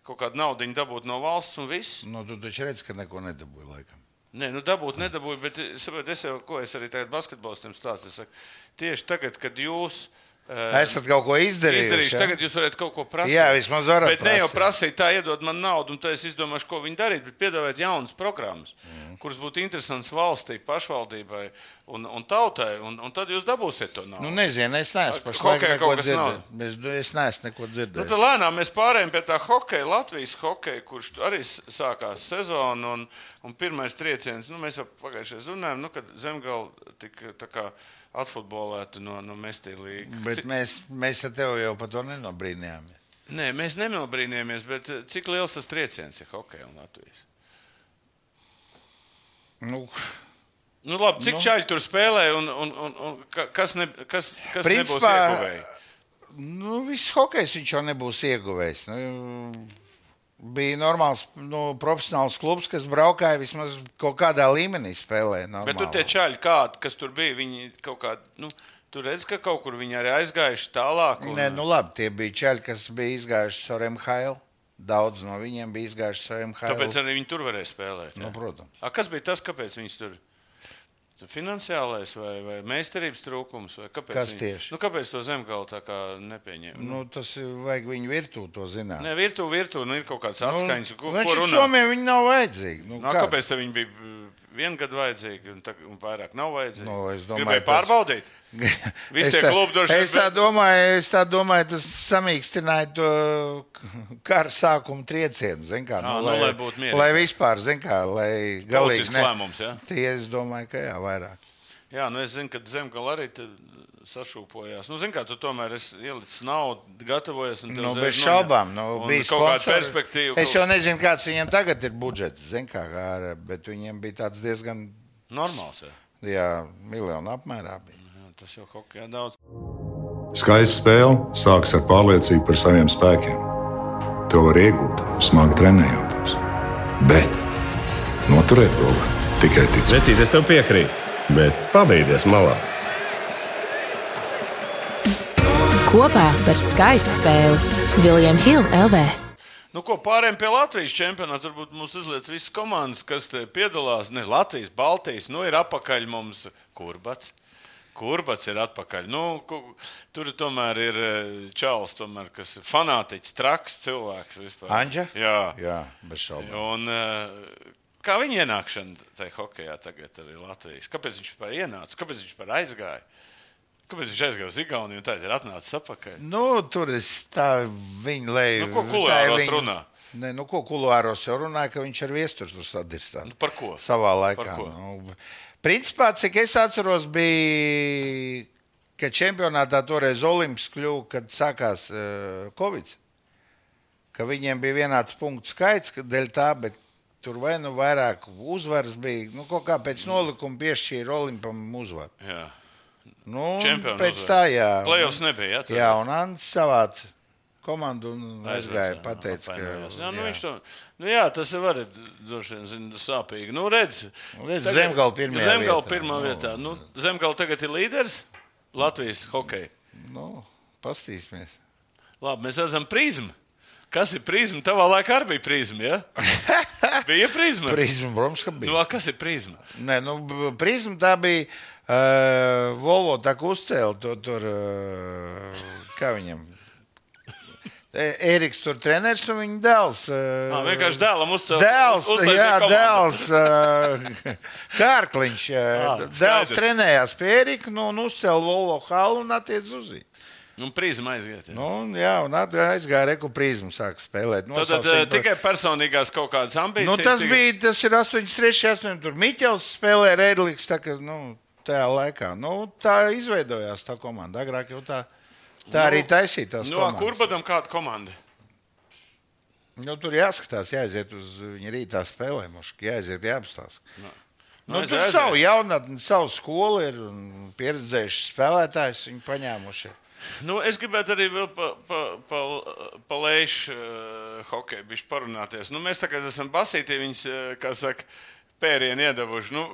[SPEAKER 2] Kaut kādu naudu dabūt no valsts un viss.
[SPEAKER 3] Nu, tu taču redz, ka neko nedabūji laikam.
[SPEAKER 2] Nē, nu dabūt, nedabūt, bet saprot, es jau, ko es arī tagad basketbolistam stāstu. Es saku, tieši tagad, kad jūs. Uh,
[SPEAKER 3] Esat kaut ko izdarījis.
[SPEAKER 2] izdarījuši. Tagad jūs varat kaut ko prasīt.
[SPEAKER 3] Jā, vismaz varat
[SPEAKER 2] Bet ne jau prasīt,
[SPEAKER 3] prasīt.
[SPEAKER 2] tā iedod man naudu, un tad es izdomāšu, ko viņi darīt. Bet piedāvāt jaunas programmas,
[SPEAKER 3] Mhm.
[SPEAKER 2] mm. kuras būtu interesantas valstī, pašvaldībai un, un tautai. Un, un tad jūs dabūsiet to naudu.
[SPEAKER 3] Nu, nezinu, es neesmu
[SPEAKER 2] Kaut-
[SPEAKER 3] pašlaik
[SPEAKER 2] kaut
[SPEAKER 3] neko
[SPEAKER 2] kas nav.
[SPEAKER 3] dzirdējis. Es, es neesmu neko
[SPEAKER 2] Nu,
[SPEAKER 3] dzirdējis.
[SPEAKER 2] tad lēnām mēs pārējām pie tā hokeja, Latvijas hokeja, kurš tu- arī s- sākās sezona. Un, un pirmais trieciens, nu, mēs jau pagājušajā gadsimtā runājām, nu, kad zemgala tika tā kā atfutbolēta no, no Mestīlīgas.
[SPEAKER 3] Bet mēs, mēs ar tevi jau par to nenobrīnījāmies.
[SPEAKER 2] Nē, mēs nenobrīnījāmies, bet eh, cik liels tas trieciens ir hokeja un Latvijas?
[SPEAKER 3] Nu,
[SPEAKER 2] Nu, labi, cik
[SPEAKER 3] Nu.
[SPEAKER 2] nu. čaļi tur spēlē un, un, un, un ka- kas, ne, kas, kas Principā... nebūs
[SPEAKER 3] Principā-
[SPEAKER 2] ieguvēji?
[SPEAKER 3] nu, viss hokejs viņš jau nebūs ieguvējis. Nu, bija normāls, nu, profesionāls klubs, kas braukāja vismaz kaut kādā līmenī spēlē.
[SPEAKER 2] Bet tur tie čaļi, kādi, kas tur bija, viņi kaut kādi, nu, tur redz, ka kaut kur viņi arī aizgājuši tālāk. Un,
[SPEAKER 3] Nē, nu labi, tie bija čaļi, kas bija izgājuši caur MHL. Daudz no viņiem bija izgājuši caur MHL.
[SPEAKER 2] tāpēc arī viņi tur varēja spēlēt.
[SPEAKER 3] nu,
[SPEAKER 2] jā?
[SPEAKER 3] protams.
[SPEAKER 2] A, kas bija tas, kāpēc viņi tur? Finansiālais vai, vai meistarības trūkums? Vai kāpēc
[SPEAKER 3] Kas
[SPEAKER 2] viņi,
[SPEAKER 3] tieši?
[SPEAKER 2] Nu, kāpēc to zemgalu tā kā nepieņēma? Nu,
[SPEAKER 3] Nu, tas ir, vajag viņu virtuvē to zināt.
[SPEAKER 2] Nē, virtuvē, virtuvē nu, ir kaut kāds
[SPEAKER 3] Nu,
[SPEAKER 2] atskaņas, ko,
[SPEAKER 3] taču
[SPEAKER 2] ko runā.
[SPEAKER 3] Somijai viņi nav vajadzīgi. Nu,
[SPEAKER 2] Nu, a,
[SPEAKER 3] kā?
[SPEAKER 2] kāpēc tā viņi bija vienu gadu vajadzīgi un, tag, un vairāk nav vajadzīgi?
[SPEAKER 3] Nu, es domāju,
[SPEAKER 2] Gribēju
[SPEAKER 3] tas-
[SPEAKER 2] pārbaudīt. Visi
[SPEAKER 3] Es
[SPEAKER 2] tie
[SPEAKER 3] tā-
[SPEAKER 2] klubi droši vien
[SPEAKER 3] Es tā
[SPEAKER 2] spēlē.
[SPEAKER 3] domāju, es tā domāju tas samīkstināja to kara sākuma triecienu. zin Kā,
[SPEAKER 2] Ā, nu, lai būtu mierīgi.
[SPEAKER 3] Lai vispār, zin kā, lai galīgi.
[SPEAKER 2] Politisks lēmums, jā?
[SPEAKER 3] Tie, es domāju, ka jā, vairāk.
[SPEAKER 2] Jā, nu es zinu, ka zemgala arī te sašūpojās. Nu, zin kā, tu tomēr esi ielicis naudu, gatavojies. un tev
[SPEAKER 3] Nu,
[SPEAKER 2] uzreiz
[SPEAKER 3] bez
[SPEAKER 2] noņem.
[SPEAKER 3] šaubām, nu,
[SPEAKER 2] Un
[SPEAKER 3] bija
[SPEAKER 2] kaut kāda
[SPEAKER 3] sponsori.
[SPEAKER 2] perspektīva.
[SPEAKER 3] Es
[SPEAKER 2] kaut-
[SPEAKER 3] jau nezinu, kāds viņiem tagad ir budžets, zin kā, kā, bet viņiem bija tāds diezgan
[SPEAKER 2] Normāls. Jā.
[SPEAKER 3] jā, miljonu apmērā. Bija.
[SPEAKER 2] Jā, Tas jau kaut kā daudz.
[SPEAKER 4] Skaista spēle sākas ar pārliecību par saviem spēkiem. To var iegūt, smagi trenējoties. Bet noturēt to var tikai ticēt.
[SPEAKER 7] Vecīt, es tev piekrītu, bet pabeigties malā.
[SPEAKER 6] Kopā par skaistu spēli Viljams Hilde LV.
[SPEAKER 2] Nu, ko pārējiem pie Latvijas čempionāta? Varbūt mums izliekas visas komandas, kas te piedalās. Ne Latvijas, Baltijas, nu ir apakaļ mums kurbats. Kurbats ir atpakaļ. Nu, ku- tur tomēr ir eh, Čāls, tomēr, kas ir fanātiķis, traks cilvēks vispār.
[SPEAKER 3] Anģa?
[SPEAKER 2] Jā.
[SPEAKER 3] jā, bez šaubām.
[SPEAKER 2] Un, eh, kā viņa ienākšana tajā hokeja tagad arī Latvijas? Kāpēc viņš vispār ienāca? Kāpēc viņš vispār aizgāja? Kāpēc viņš aizgāja uz Igauniju un tagad ir atnācis atpakaļ?
[SPEAKER 3] Nu, tur es tā viņu leju.
[SPEAKER 2] Nu, ko kuluāros runā?
[SPEAKER 3] Ne, nu, ko kuluāros jau runāja, ka viņš ar viesturu tur sadirstās.
[SPEAKER 2] Nu, par ko?
[SPEAKER 3] savā
[SPEAKER 2] Par
[SPEAKER 3] laikā.
[SPEAKER 2] ko?
[SPEAKER 3] Nu, principā, cik es atceros, bija, ka čempionātā toreiz Olimps kļuva, kad sākās uh, Covid. Ka viņiem bija vienāds punktu skaits, ka dēļ tā, bet tur vai nu vairāk uzvaras bija. Nu, kaut kā pēc nolikuma piešķīra Olimpam uzvaru.
[SPEAKER 2] Jā.
[SPEAKER 3] Nu,
[SPEAKER 2] Čempionu
[SPEAKER 3] pēc
[SPEAKER 2] uzvaru.
[SPEAKER 3] tā, jā.
[SPEAKER 2] Playoffs nebija. Jā, tā
[SPEAKER 3] Jā, un Ants savāca komandu un
[SPEAKER 2] Aizvāc,
[SPEAKER 3] aizgāja.
[SPEAKER 2] jā,
[SPEAKER 3] Pateica, ka,
[SPEAKER 2] apvainojās. jā, nu, viņš to, nu, jā, tas ir arī droši vien zin, sāpīgi. Nu, redz,
[SPEAKER 3] Nu, redz, Zemgala pirmajā
[SPEAKER 2] Zemgala
[SPEAKER 3] vietā.
[SPEAKER 2] pirmā
[SPEAKER 3] Nu.
[SPEAKER 2] vietā. Nu, Zemgala tagad ir līderis Latvijas hokeja.
[SPEAKER 3] nu,
[SPEAKER 2] <laughs>
[SPEAKER 3] pastīsimies.
[SPEAKER 2] Labi, mēs redzam prizmu. Kas ir prizma? Tavā laikā arī bija prizma.
[SPEAKER 3] <laughs>
[SPEAKER 2] Ja? Bija prizma.
[SPEAKER 3] Prizmu Bromska bija.
[SPEAKER 2] Nu, a, kas ir prizma?
[SPEAKER 3] Nē, nu, b- prizma tā bija. Uh, Volvo tā kā uzcēla to tur. Uh, kā viņam? E- Eriks tur treneris un viņa dēls. Uh,
[SPEAKER 2] Ā, vienkārši dēlam uzcelt. Ah,
[SPEAKER 3] Dēls,
[SPEAKER 2] uz- uztaisīt
[SPEAKER 3] jā,
[SPEAKER 2] komandu.
[SPEAKER 3] dēls, uh, <laughs> Kārkliņš. Uh,
[SPEAKER 2] Ā,
[SPEAKER 3] dēls
[SPEAKER 2] Ah, skaidrs.
[SPEAKER 3] trenējās pie Erika, nu, un uzcēla Volvo halu un attiec uz viņu.
[SPEAKER 2] Nu, prizma aiziet. Jā.
[SPEAKER 3] Nu, un jā, un at- aizgāja Reku prizmu, sāka spēlēt.
[SPEAKER 2] Tad, tad eh,
[SPEAKER 3] Nosauksim par-
[SPEAKER 2] tikai personīgās kaut kādas ambīcijas.
[SPEAKER 3] Nu, tas
[SPEAKER 2] tikai-
[SPEAKER 3] bija tas ir 83, 8. Tur Miķels spēlēja Redliks. Tā, ka, nu, tajā laikā nu, tā izveidojās tā komanda. Agrāk jau tā, tā nu, arī taisīja. tās
[SPEAKER 2] Nu, a,
[SPEAKER 3] komandas.
[SPEAKER 2] kurbadam kāda komanda?
[SPEAKER 3] Nu, tur jāskatās, jāaiziet uz viņa rītā spēlēm, muški, jāaiziet, jāapstāsta. Nu,
[SPEAKER 2] aiz-
[SPEAKER 3] tur
[SPEAKER 2] aiziet.
[SPEAKER 3] savu jaunatni, savu skolu ir un pieredzējuši spēlētājus. Viņi paņēmuši.
[SPEAKER 2] Nu, es gribētu arī vēl pa, pa, pa, pa lejušu uh, hokeju bišķi parunāties. Nu, mēs tagad esam basīti, viņas, eh, kā saka, pērienu iedavuši. Nu,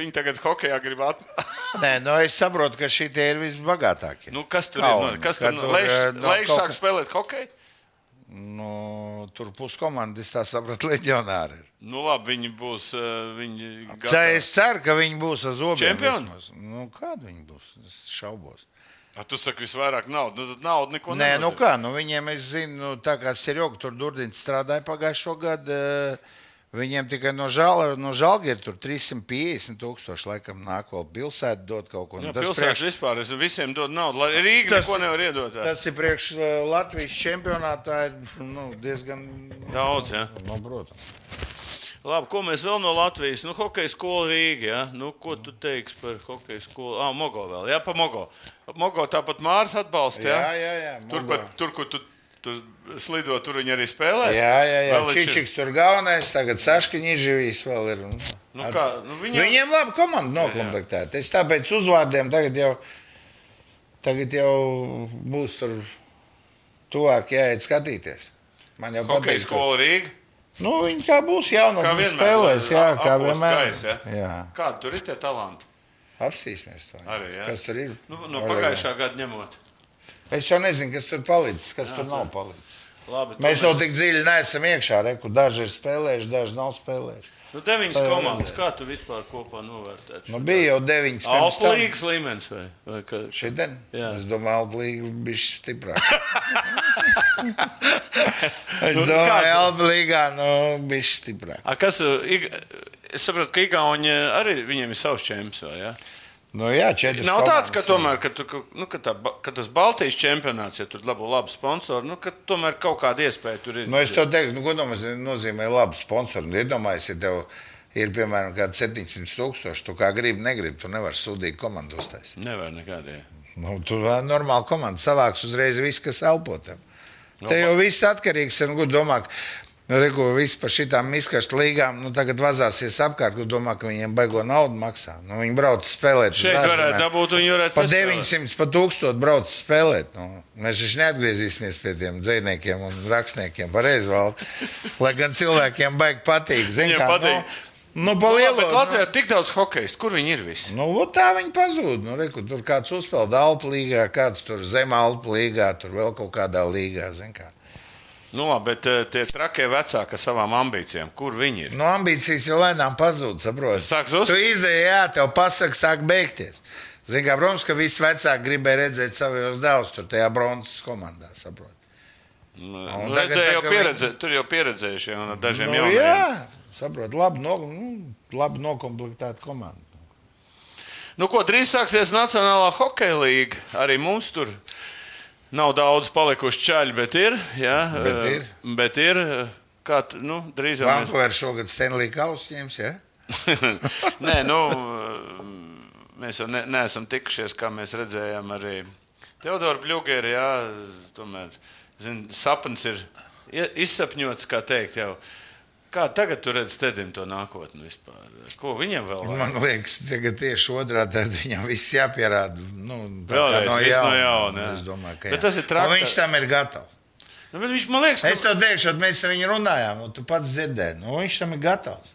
[SPEAKER 2] viņi tagad hokejā grib atmest.
[SPEAKER 3] Nē, nu, es saprotu, ka šie tie ir visbagātākie.
[SPEAKER 2] <laughs> Nu, kas tur
[SPEAKER 3] Kauni,
[SPEAKER 2] ir? Nu, kas
[SPEAKER 3] ka
[SPEAKER 2] tur ir?
[SPEAKER 3] tur, eh, nu,
[SPEAKER 2] Lejuši
[SPEAKER 3] kaut
[SPEAKER 2] sāk
[SPEAKER 3] kā-
[SPEAKER 2] spēlēt hokeju?
[SPEAKER 3] nu, tur puskomandas, tā sapratu, leģionāri. ir.
[SPEAKER 2] Nu, labi, viņi būs. eh, Viņi
[SPEAKER 3] Cer, es ceru, ka viņi būs uz obiem.
[SPEAKER 2] Čempioni?
[SPEAKER 3] vismaz. Nu, kāda viņi būs? Es šaubos.
[SPEAKER 2] A, tu saki, visvairāk naudas. Nu, tad nauda neko
[SPEAKER 3] Nē, nu
[SPEAKER 2] nenozīmē.
[SPEAKER 3] kā, nu viņiem es zinu, nu, tā kā Sirjoka tur Durdins strādāja pagājušo gadu. eh, Viņiem tikai no, žāla, no žāla ir tur 350 tūkstoši, laikam, nākotnē pilsētā dot kaut ko. Nu,
[SPEAKER 2] Jā,
[SPEAKER 3] tas
[SPEAKER 2] pilsētā
[SPEAKER 3] priekš-
[SPEAKER 2] vispār es visiem dodu naudu. Lai Rīga
[SPEAKER 3] Tas-
[SPEAKER 2] neko nevar iedot. jā.
[SPEAKER 3] Tas ir priekš eh, Latvijas čempionātā ir, nu, diezgan
[SPEAKER 2] Daudz, jā.
[SPEAKER 3] Nu, protams.
[SPEAKER 2] Labi, ko mēs vēl no Latvijas? Nu, hokeja skola Rīgā. Ja? Nu, ko tu teiksi par hokeja skolu? Ah, Mogo vēl, jā, pa Mogo. Mogo tāpat Mārs atbalsta. Ja?
[SPEAKER 3] Jā, jā, jā,
[SPEAKER 2] Tur,
[SPEAKER 3] Mogo.
[SPEAKER 2] kur, tur, kur tu, tu slido, tur viņi arī spēlē.
[SPEAKER 3] Jā, jā,
[SPEAKER 2] <laughs>
[SPEAKER 3] jā.
[SPEAKER 2] Vēl viņš ir-
[SPEAKER 3] Čičiks tur galvenais, tagad Saškiņš živīs vēl ir. un-
[SPEAKER 2] Nu
[SPEAKER 3] At-
[SPEAKER 2] kā, nu viņam-
[SPEAKER 3] viņiem... viņiem labi komanda noklumpētēta. Es tāpēc uzvārdiem tagad jau, tagad jau būs tur tuvāk jāiet skatīties. Man jau
[SPEAKER 2] Hokeja
[SPEAKER 3] patīk. tur.
[SPEAKER 2] skola Rīgā.
[SPEAKER 3] Nu, viņi kā būs jauni,
[SPEAKER 2] Kā vienmēr.
[SPEAKER 3] spēlēs, jā,
[SPEAKER 2] a-
[SPEAKER 3] kā
[SPEAKER 2] apos
[SPEAKER 3] vienmēr.
[SPEAKER 2] gais, ja?
[SPEAKER 3] jā.
[SPEAKER 2] Kādi tur ir tie talanti?
[SPEAKER 3] Apstīsimies to.
[SPEAKER 2] Arī, jā.
[SPEAKER 3] kas tur ir?
[SPEAKER 2] Nu, no
[SPEAKER 3] Orlegā.
[SPEAKER 2] pagājušā gada ņemot.
[SPEAKER 3] Es jau nezinu, kas tur palicis, kas jā, tur nav palicis.
[SPEAKER 2] Labi, to
[SPEAKER 3] Mēs jau tik dziļi neesam iekšā, re, kur daži ir spēlējuši, daži nav spēlējuši.
[SPEAKER 2] Nu, deviņas komandas. Kā tu vispār kopā novērtēji?
[SPEAKER 3] Nu, bija jau 9,
[SPEAKER 2] Alfa līnijas līmenis vai, vai ka...
[SPEAKER 3] Šodien?
[SPEAKER 2] Jā.
[SPEAKER 3] Es domāju, Alblīga bija stiprāk.
[SPEAKER 2] <laughs>
[SPEAKER 3] es
[SPEAKER 2] Nu,
[SPEAKER 3] nu, domāju,
[SPEAKER 2] kāds-
[SPEAKER 3] Alblīgā nu, bija stiprāk.
[SPEAKER 2] A, kas, uh, Ig... Es saprotu, ka Igauni arī viņiem ir savs čempions. vai, Ja?
[SPEAKER 3] Nu, jā, četras
[SPEAKER 2] Nav tāds, ka,
[SPEAKER 3] komandas.
[SPEAKER 2] tomēr, ka, tu, ka, nu, ka, tā, ba- ka tas Baltijas čempionāts, ja tur dabū labu sponsoru, nu, ka tomēr kaut kāda iespēja tur ir.
[SPEAKER 3] Nu, es to teiktu, nu, godam, tas nozīmē labu sponsoru. Nu, Iedomājieties, ja tev ir piemēram kāds 700 tūkstoši, tu kā gribi, negribi, tu nevari sūdīt komandu uztaisīt.
[SPEAKER 2] Nevar nekādiem.
[SPEAKER 3] Nu, tu ā, normāli komanda savāks uzreiz viss, kas elpo tev.
[SPEAKER 2] Nu,
[SPEAKER 3] Te jau viss atkarīgs no tā, domā, ka Rīgo viss par šīm izkastu līgām nu, tagad vazāsies apkārt, kur domā, ka viņiem baigo naudu maksā. Nu, viņi brauc spēlēt. uz
[SPEAKER 2] Šeit varētu
[SPEAKER 3] ārzemēm.
[SPEAKER 2] dabūt, viņi varētu
[SPEAKER 3] Pa
[SPEAKER 2] saspēlēt.
[SPEAKER 3] 900, pa 1000 brauc spēlēt. Nu, mēs taču neatgriezīsimies pie tiem dzīsniekiem un rakstniekiem, pareizi valda. Lai gan cilvēkiem baigi patīk. Zin,
[SPEAKER 2] Viņiem
[SPEAKER 3] kā,
[SPEAKER 2] patīk.
[SPEAKER 3] Nu, nu, pa lielo,
[SPEAKER 2] Bet
[SPEAKER 3] nu,
[SPEAKER 2] Latvijā ir tik daudz hokeja, kur viņi ir visi?
[SPEAKER 3] Nu, lūk, tā viņi pazūd. Nu, re, kur tur kāds uzspēlē Alpu līgā, kāds tur zemā Alpu līgā, tur vēl kaut kādā līgā. zini Kā.
[SPEAKER 2] Nu, labi, bet eh, tie trakie vecāki ar savām ambīcijām, kur viņi ir?
[SPEAKER 3] Nu, ambīcijas jau lēnām pazūd, saproti.
[SPEAKER 2] Sāk zust?
[SPEAKER 3] Tu izēji, jā, tev pasaka, sāk beigties. Zini, kā, protams, ka visi vecāki gribēja redzēt savus dēlus tur tajā bronzas komandā, saproti.
[SPEAKER 2] Nu,
[SPEAKER 3] Un
[SPEAKER 2] nu,
[SPEAKER 3] tagad
[SPEAKER 2] redzēju,
[SPEAKER 3] tā,
[SPEAKER 2] jau
[SPEAKER 3] ka
[SPEAKER 2] pieredze, Tur jau pieredzējušie un ar dažiem
[SPEAKER 3] Nu,
[SPEAKER 2] jauniem.
[SPEAKER 3] jā, saproti, labi, no, nu, labi nokomplektēta komanda.
[SPEAKER 2] Nu, ko drīz sāksies Nacionālā hokeja līnija. Arī mums tur nav daudz palikuši čaļi, bet ir. Jā,
[SPEAKER 3] Bet
[SPEAKER 2] eh,
[SPEAKER 3] ir.
[SPEAKER 2] Bet ir eh, kā, t- nu, drīz jau mēs...
[SPEAKER 3] Vankūverā šogad Stanley Kausa ņems, jā?
[SPEAKER 2] <laughs> Nē, nu, eh, mēs jau ne, neesam tikušies, kā mēs redzējām, arī Teodora Bļūgeri. Jā, tomēr zin, sapnis ir ie- izsapņots, kā teikt. Jau. Kā tagad tu redzi Tedim to nākotni vispār? Ko viņam vēl? vajag?
[SPEAKER 3] Man liekas, tagad tieši otrādi tad viņam viss jāpierāda. Nu, tā kā
[SPEAKER 2] Vēlreiz, viss no jauna, jā.
[SPEAKER 3] Es domāju, ka
[SPEAKER 2] Bet
[SPEAKER 3] jā.
[SPEAKER 2] tas ir traki.
[SPEAKER 3] Un Viņš tam ir gatavs.
[SPEAKER 2] Nu, bet viņš man liekas, ka
[SPEAKER 3] Es to teikšu, kad mēs ar viņu runājām, un tu pats dzirdēji, nu, viņš tam ir gatavs.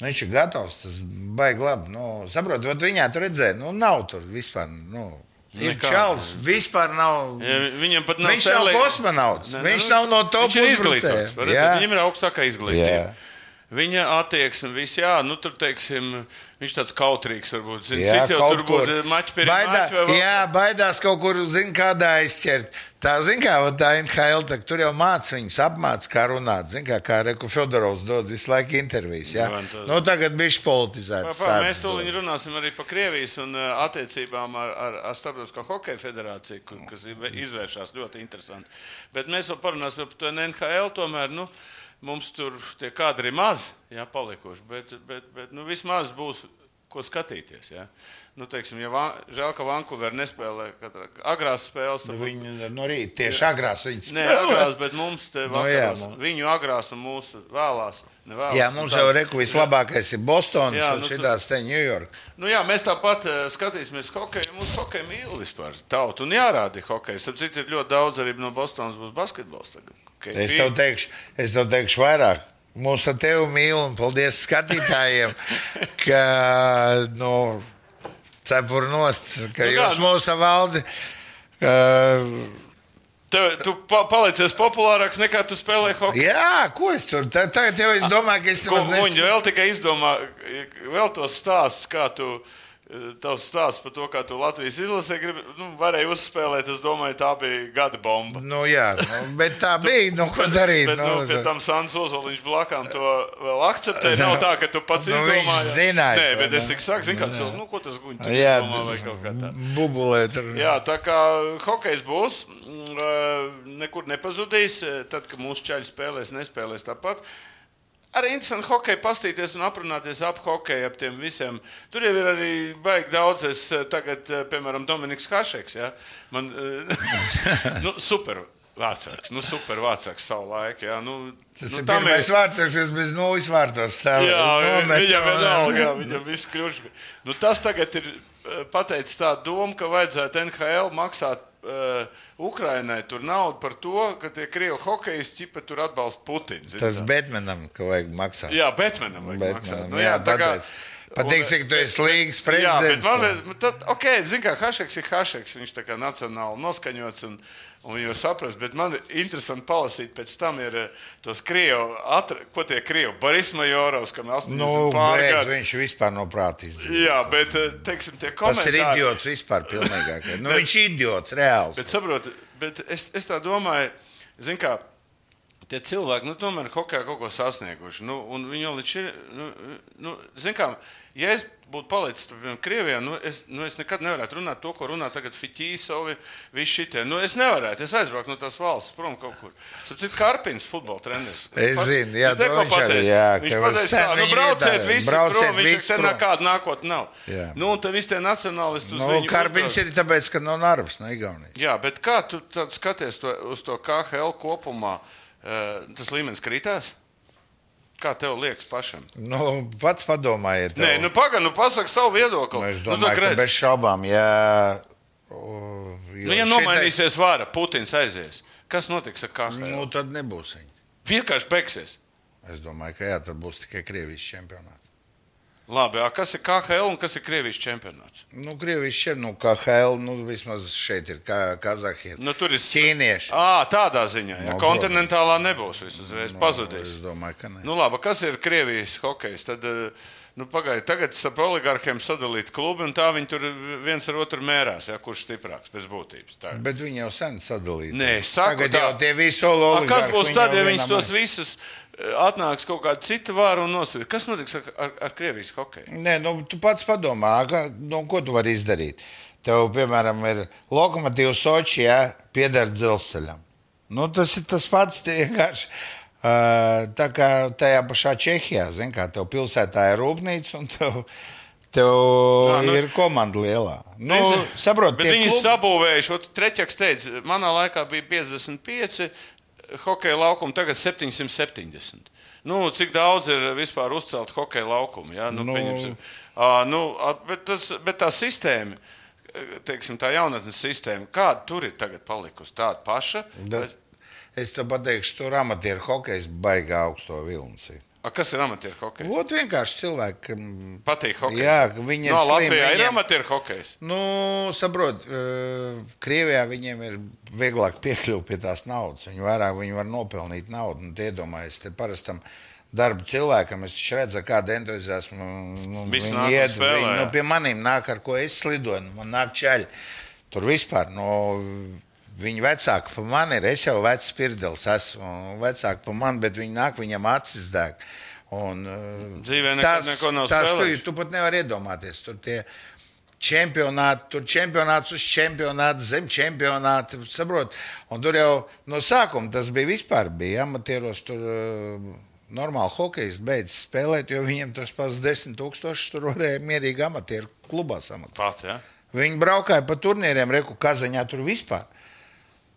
[SPEAKER 3] Nu, viņš ir gatavs, tas baigi labi. Nu, Saprotu, vat viņā tur redzēja, nu, nav tur vispār. Nu, ir
[SPEAKER 2] Nekā.
[SPEAKER 3] čels, vispār nav.
[SPEAKER 2] Ja, vi- viņam pat nav
[SPEAKER 3] Viņš nav
[SPEAKER 2] tele-
[SPEAKER 3] kosmonauts,
[SPEAKER 2] Nē,
[SPEAKER 3] viņš
[SPEAKER 2] nu,
[SPEAKER 3] nav no top
[SPEAKER 2] Viņš ir izglītots.
[SPEAKER 3] uzbrucējiem.
[SPEAKER 2] var redzēt,
[SPEAKER 3] Jā.
[SPEAKER 2] Viņam ir augstākā izglītība.
[SPEAKER 3] Jā.
[SPEAKER 2] Viņa attieksme, viss, jā, nu tur, teiksim, viņš tāds kautrīgs varbūt. Zin,
[SPEAKER 3] Jā,
[SPEAKER 2] cits jau
[SPEAKER 3] kaut
[SPEAKER 2] tur
[SPEAKER 3] kur.
[SPEAKER 2] būtu mačs pie
[SPEAKER 3] Baidā- Jā,
[SPEAKER 2] mača.
[SPEAKER 3] baidās kaut kur, zina, kādā aizķert. Tā, zina, kā vot tā NHL, tak, tur jau mācīja viņus, apmācīja, kā runāt. Zina, kā, kā Reku Fedorovs dod visu laiku intervijas. Jā,
[SPEAKER 2] Jā, un tas-
[SPEAKER 3] nu, tagad bija politizēts.
[SPEAKER 2] Papā, mēs tūlīt runāsim arī par Krievijas un eh, attiecībām ar, ar, ar Starptautisko hokeja federāciju, kur, kas ir ve- izvēršās ļoti interesanti. Bet mēs vēl parunāsim par to NHL. Tomēr nu, mums tur tie kadri ir maz jā, palikuši, bet, bet, bet nu, vismaz būs ko skatīties. Jā. Nu, teiksim, ja va, žēl, ka Vankūverā nespēlē katrā- agrās spēles. tad-
[SPEAKER 3] Nu, Viņi no rīta tieši agrās viņas
[SPEAKER 2] Nē,
[SPEAKER 3] spēlē.
[SPEAKER 2] agrās, bet mums te
[SPEAKER 3] Nu, jā,
[SPEAKER 2] vakarās, no,
[SPEAKER 3] mums-
[SPEAKER 2] viņu agrās un mūsu vēlās. ne vēlās
[SPEAKER 3] Jā,
[SPEAKER 2] un
[SPEAKER 3] mums
[SPEAKER 2] tā.
[SPEAKER 3] jau reku vislabākais ir Bostonas
[SPEAKER 2] Jā,
[SPEAKER 3] un
[SPEAKER 2] nu, tu-
[SPEAKER 3] šitās te New York.
[SPEAKER 2] Nu, jā, mēs tāpat eh, skatīsimies hokeju. Mums hokeja mīl vispār tautu un jārāda hokeja. Sapratu, ir ļoti daudz arī no Bostonas būs basketbols. Tagad. KP.
[SPEAKER 3] Es tev teikšu, es tev teikšu vairāk. Mūsu ar tevi mīl un paldies skatītājiem, ka nu, cepur nost, ka
[SPEAKER 2] Nu kā,
[SPEAKER 3] nu, jūs
[SPEAKER 2] nu-
[SPEAKER 3] mūsu valdi. Uh,
[SPEAKER 2] Tev, tu pa, palicies populārāks nekā tu spēlēji hokeju.
[SPEAKER 3] jā, ko es tur tā- tagad jau es domāju, ka es
[SPEAKER 2] Ko
[SPEAKER 3] nemaz
[SPEAKER 2] Muņģi
[SPEAKER 3] nesaprotu.
[SPEAKER 2] vēl tikai izdomā, eh, vēl tos stāsts, kā tu. eh, Tavs stāsts par to, kā tu Latvijas izlasē gribi, nu, varēji uzspēlēt. Es domāju, tā bija gada bomba.
[SPEAKER 3] Nu, jā, nu, bet tā bija. Nu, ko darīt?
[SPEAKER 2] Bet, nu, pie tam Sāns Ozoliņš blakām to vēl
[SPEAKER 3] <laughs>
[SPEAKER 2] akceptē. Nav tā, ka tu pats
[SPEAKER 3] Nu,
[SPEAKER 2] izdomāji.
[SPEAKER 3] viņš zināja
[SPEAKER 2] Nē,
[SPEAKER 3] to,
[SPEAKER 2] bet es
[SPEAKER 3] nu.
[SPEAKER 2] tik saku, zinu, kāds, nu, ko tas guņš
[SPEAKER 3] jā,
[SPEAKER 2] domā vai kaut kā tā.
[SPEAKER 3] Bubulē tur.
[SPEAKER 2] Jā, tā kā hokejs būs, mm, eh, nekur nepazudīs. eh, Tad, kad mūsu ķēļi spēlēs, nespēlēs tāpat. Arī interesanti hokeju pastīties un aprunāties ap hokeju, ap tiem visiem. Tur jau ir arī baigi daudz. Es eh, tagad, eh, piemēram, Dominiks Hašeks. Ja? Man, eh, <laughs> nu, super vācāks, nu, super vācāks savu laiku. Ja? Nu,
[SPEAKER 3] Tas
[SPEAKER 2] nu,
[SPEAKER 3] ir
[SPEAKER 2] tam
[SPEAKER 3] pirmais vārds, kas bez nulles vārtos stāv.
[SPEAKER 2] Jā,
[SPEAKER 3] Nomet,
[SPEAKER 2] viņam
[SPEAKER 3] un-
[SPEAKER 2] vienalga, viņam viss kļūst. Nu, tas tagad ir eh, pateicis tā doma, ka vajadzētu NHL maksāt eh, Ukrainai tur naudu par to, ka tie krievi hokejas ķipa tur atbalsta Putins.
[SPEAKER 3] Tas Batmanam, ka vajag maksāt.
[SPEAKER 2] Jā, Betmenam vajag maksāt.
[SPEAKER 3] Batmanam,
[SPEAKER 2] Nu, jā,
[SPEAKER 3] jā,
[SPEAKER 2] tā kā- e,
[SPEAKER 3] pateic. Pateic, cik tu esi līgs
[SPEAKER 2] Jā, bet
[SPEAKER 3] prezidents.
[SPEAKER 2] man liekas, nu, tad, ok, zinu, kā Hašeks ir Hašeks. Viņš tā kā nacionāli noskaņots un, un jau saprast, bet man ir interesanti palasīt pēc tam ir eh, tos krievu, atra, ko tie krievi, Boris Majorovs, kam
[SPEAKER 3] Nu,
[SPEAKER 2] 80 pāri
[SPEAKER 3] beidz,
[SPEAKER 2] gadi.
[SPEAKER 3] viņš vispār no prāta izdevās.
[SPEAKER 2] Jā, bet eh, teiksim, tie
[SPEAKER 3] Tas ir
[SPEAKER 2] komentāri.
[SPEAKER 3] idiots vispār. pilnīgākais. Nu, viņš ir idiots, reāls.
[SPEAKER 2] Bet, saprot, bet es, es tā domāju, zin kā. Tie cilvēki, nu, tomēr hokeja kaut ko sasnieguši. Nu, un viņi jau līdz šim, nu, nu zin kā, ja es būtu palicis piemēram, Krievijā, nu es, nu, es nekad nevarētu runāt to, ko runā tagad Fitīsovi, visi šitie. Nu, es nevarētu, es aizbraucu no tās valsts prom kaut kur. Sapratu, Karpins, futbola treneris.
[SPEAKER 3] Es
[SPEAKER 2] Pat-
[SPEAKER 3] zinu, jā,
[SPEAKER 2] tu te
[SPEAKER 3] to
[SPEAKER 2] ko
[SPEAKER 3] viņš arī,
[SPEAKER 2] pateici?
[SPEAKER 3] jā,
[SPEAKER 2] Viņš
[SPEAKER 3] ka
[SPEAKER 2] pateica,
[SPEAKER 3] sen
[SPEAKER 2] tā, nu,
[SPEAKER 3] viņi
[SPEAKER 2] brauciet
[SPEAKER 3] iedara,
[SPEAKER 2] visi
[SPEAKER 3] brauciet
[SPEAKER 2] prom, viņš
[SPEAKER 3] visi
[SPEAKER 2] sen
[SPEAKER 3] prom.
[SPEAKER 2] nekāda nākotne nav.
[SPEAKER 3] Jā.
[SPEAKER 2] Nu, un tad visi tie nacionālisti uz
[SPEAKER 3] Nu,
[SPEAKER 2] viņu
[SPEAKER 3] Karpiņš
[SPEAKER 2] uzbrauc.
[SPEAKER 3] ir tāpēc, ka no Narvas, no Igaunijas.
[SPEAKER 2] Jā, bet kā tu tad skaties to, uz to KL kopumā? eh, Tas līmenis kritās? Kā tev liekas pašam?
[SPEAKER 3] Nu, pats padomājiet.
[SPEAKER 2] Nē, nu pagaidi, nu pasaki savu viedokli.
[SPEAKER 3] Nu, es
[SPEAKER 2] nu,
[SPEAKER 3] domāju,
[SPEAKER 2] tu
[SPEAKER 3] nu, ka
[SPEAKER 2] redz.
[SPEAKER 3] bez šaubām, ja. o, jo
[SPEAKER 2] nu, ja
[SPEAKER 3] šitai-
[SPEAKER 2] nomainīsies vara, Putins aizies. Kas notiks ar KL?
[SPEAKER 3] nu,
[SPEAKER 2] Nu,
[SPEAKER 3] tad nebūs viņa.
[SPEAKER 2] Vienkārši beigsies.
[SPEAKER 3] Es domāju, ka jā, tad būs tikai Krievijas čempionāts.
[SPEAKER 2] Labi, a, kas ir KL un kas ir Krievijas čempionāts?
[SPEAKER 3] Nu, Krievijas šeit, nu, kā HL, nu, vismaz šeit ir kā Kazahija.
[SPEAKER 2] Nu, tur ir s-
[SPEAKER 3] Ķīnieši.
[SPEAKER 2] À, tādā ziņā, ja
[SPEAKER 3] Nu,
[SPEAKER 2] kontinentālā nebūs viss uzreiz pazudīs.
[SPEAKER 3] Es domāju, ka nē.
[SPEAKER 2] Nu, labi, kas ir Krievijas hokejs? Tad, eh, nu, pagaidiet, tagad starp oligarkiem sadalīt klubi, un tā viņi tur viens ar otru mērās, ja, kurš stiprāks pēc būtības. Tā.
[SPEAKER 3] Bet viņi jau sen sadalīja.
[SPEAKER 2] Nē, es saku
[SPEAKER 3] Tagad
[SPEAKER 2] tā.
[SPEAKER 3] jau tie visi
[SPEAKER 2] A,
[SPEAKER 3] ololi.
[SPEAKER 2] Kas būs tad, ja viņi tos visus eh, atnāks kaut kāda cita vāra un nosūtīs? Kas notiks ar, ar, ar Krievijas hokeju?
[SPEAKER 3] Nē, nu, tu pats padomā, ka, nu, ko tu vari izdarīt. Tev, piemēram, ir lokomotīva Soči, ja pieder dzelzceļam. Nu, tas ir tas pats. tie vienkārši, ā, Tā kā tajā pašā Čehijā, zināmā mērā, tev pilsētā ir rūpnīca un tev, tev Jā,
[SPEAKER 2] Jā, nu-
[SPEAKER 3] nu, ir komanda lielā. Nu, saprot,
[SPEAKER 2] bet
[SPEAKER 3] tie
[SPEAKER 2] viņi
[SPEAKER 3] klubi-
[SPEAKER 2] sabūvējuši. ot, Treķaks teica, manā laikā bija 55 hokeja laukumi, tagad 770. Nu, cik daudz ir vispār uzcelt hokeja laukumu? Ja? Nu,
[SPEAKER 3] Nu.
[SPEAKER 2] nu... À, nu, a, bet, tas, bet tā sistēma, eh, teiksim, tā jaunatnes sistēma, kāda tur ir tagad palikusi, tāda paša.
[SPEAKER 3] Da,
[SPEAKER 2] Bet,
[SPEAKER 3] es tev pateikšu, tur amatieru hokejs baigā augsto vilni.
[SPEAKER 2] a, kas ir amatieru hokeja?
[SPEAKER 3] Ot vienkārši hm, cilvēkam
[SPEAKER 2] Patīk hokejs.
[SPEAKER 3] Jā, ka viņi ir
[SPEAKER 2] no,
[SPEAKER 3] slimi,
[SPEAKER 2] Latvijā ir
[SPEAKER 3] viņiem-
[SPEAKER 2] amatieru hokejs.
[SPEAKER 3] Nu, saprot, eh, Krievijā viņiem ir vieglāk piekļūt pie tās naudas. Viņi vairāk viņi var nopelnīt naudu. Nu, Iedomājieties, te parastam darba cilvēkam, es taču redzu, ar kāda entuziasma nu,
[SPEAKER 2] Visi
[SPEAKER 3] viņi
[SPEAKER 2] nāk un
[SPEAKER 3] iet.
[SPEAKER 2] spēlē,
[SPEAKER 3] Viņi, nu,
[SPEAKER 2] jā.
[SPEAKER 3] pie maniem nāk, ar ko es slidoju, nu, man nāk ķēļi. Tur vispār. Nu, Viņa vecāka par mani ir. Es jau vecs pirdelis esmu vecāka par mani, bet viņi nāk, viņam acis deg. Un, eh,
[SPEAKER 2] Dzīvē nekad
[SPEAKER 3] tas,
[SPEAKER 2] neko nav
[SPEAKER 3] tas tu,
[SPEAKER 2] spēlējis.
[SPEAKER 3] tu pat nevari iedomāties. Tur tie čempionāti, tur čempionāts uz čempionāta, zem čempionāta. Saprot? Un tur jau no sākuma tas bija vispār. Bija amatieros tur eh, normāli hokejs beidzas spēlēt, jo viņiem tas pats 10,000 tur varēja mierīgi amatieru klubā samaksāt.
[SPEAKER 2] Pat, ja?
[SPEAKER 3] Viņi braukāja pa turnīriem, reku kazaņā tur vispār.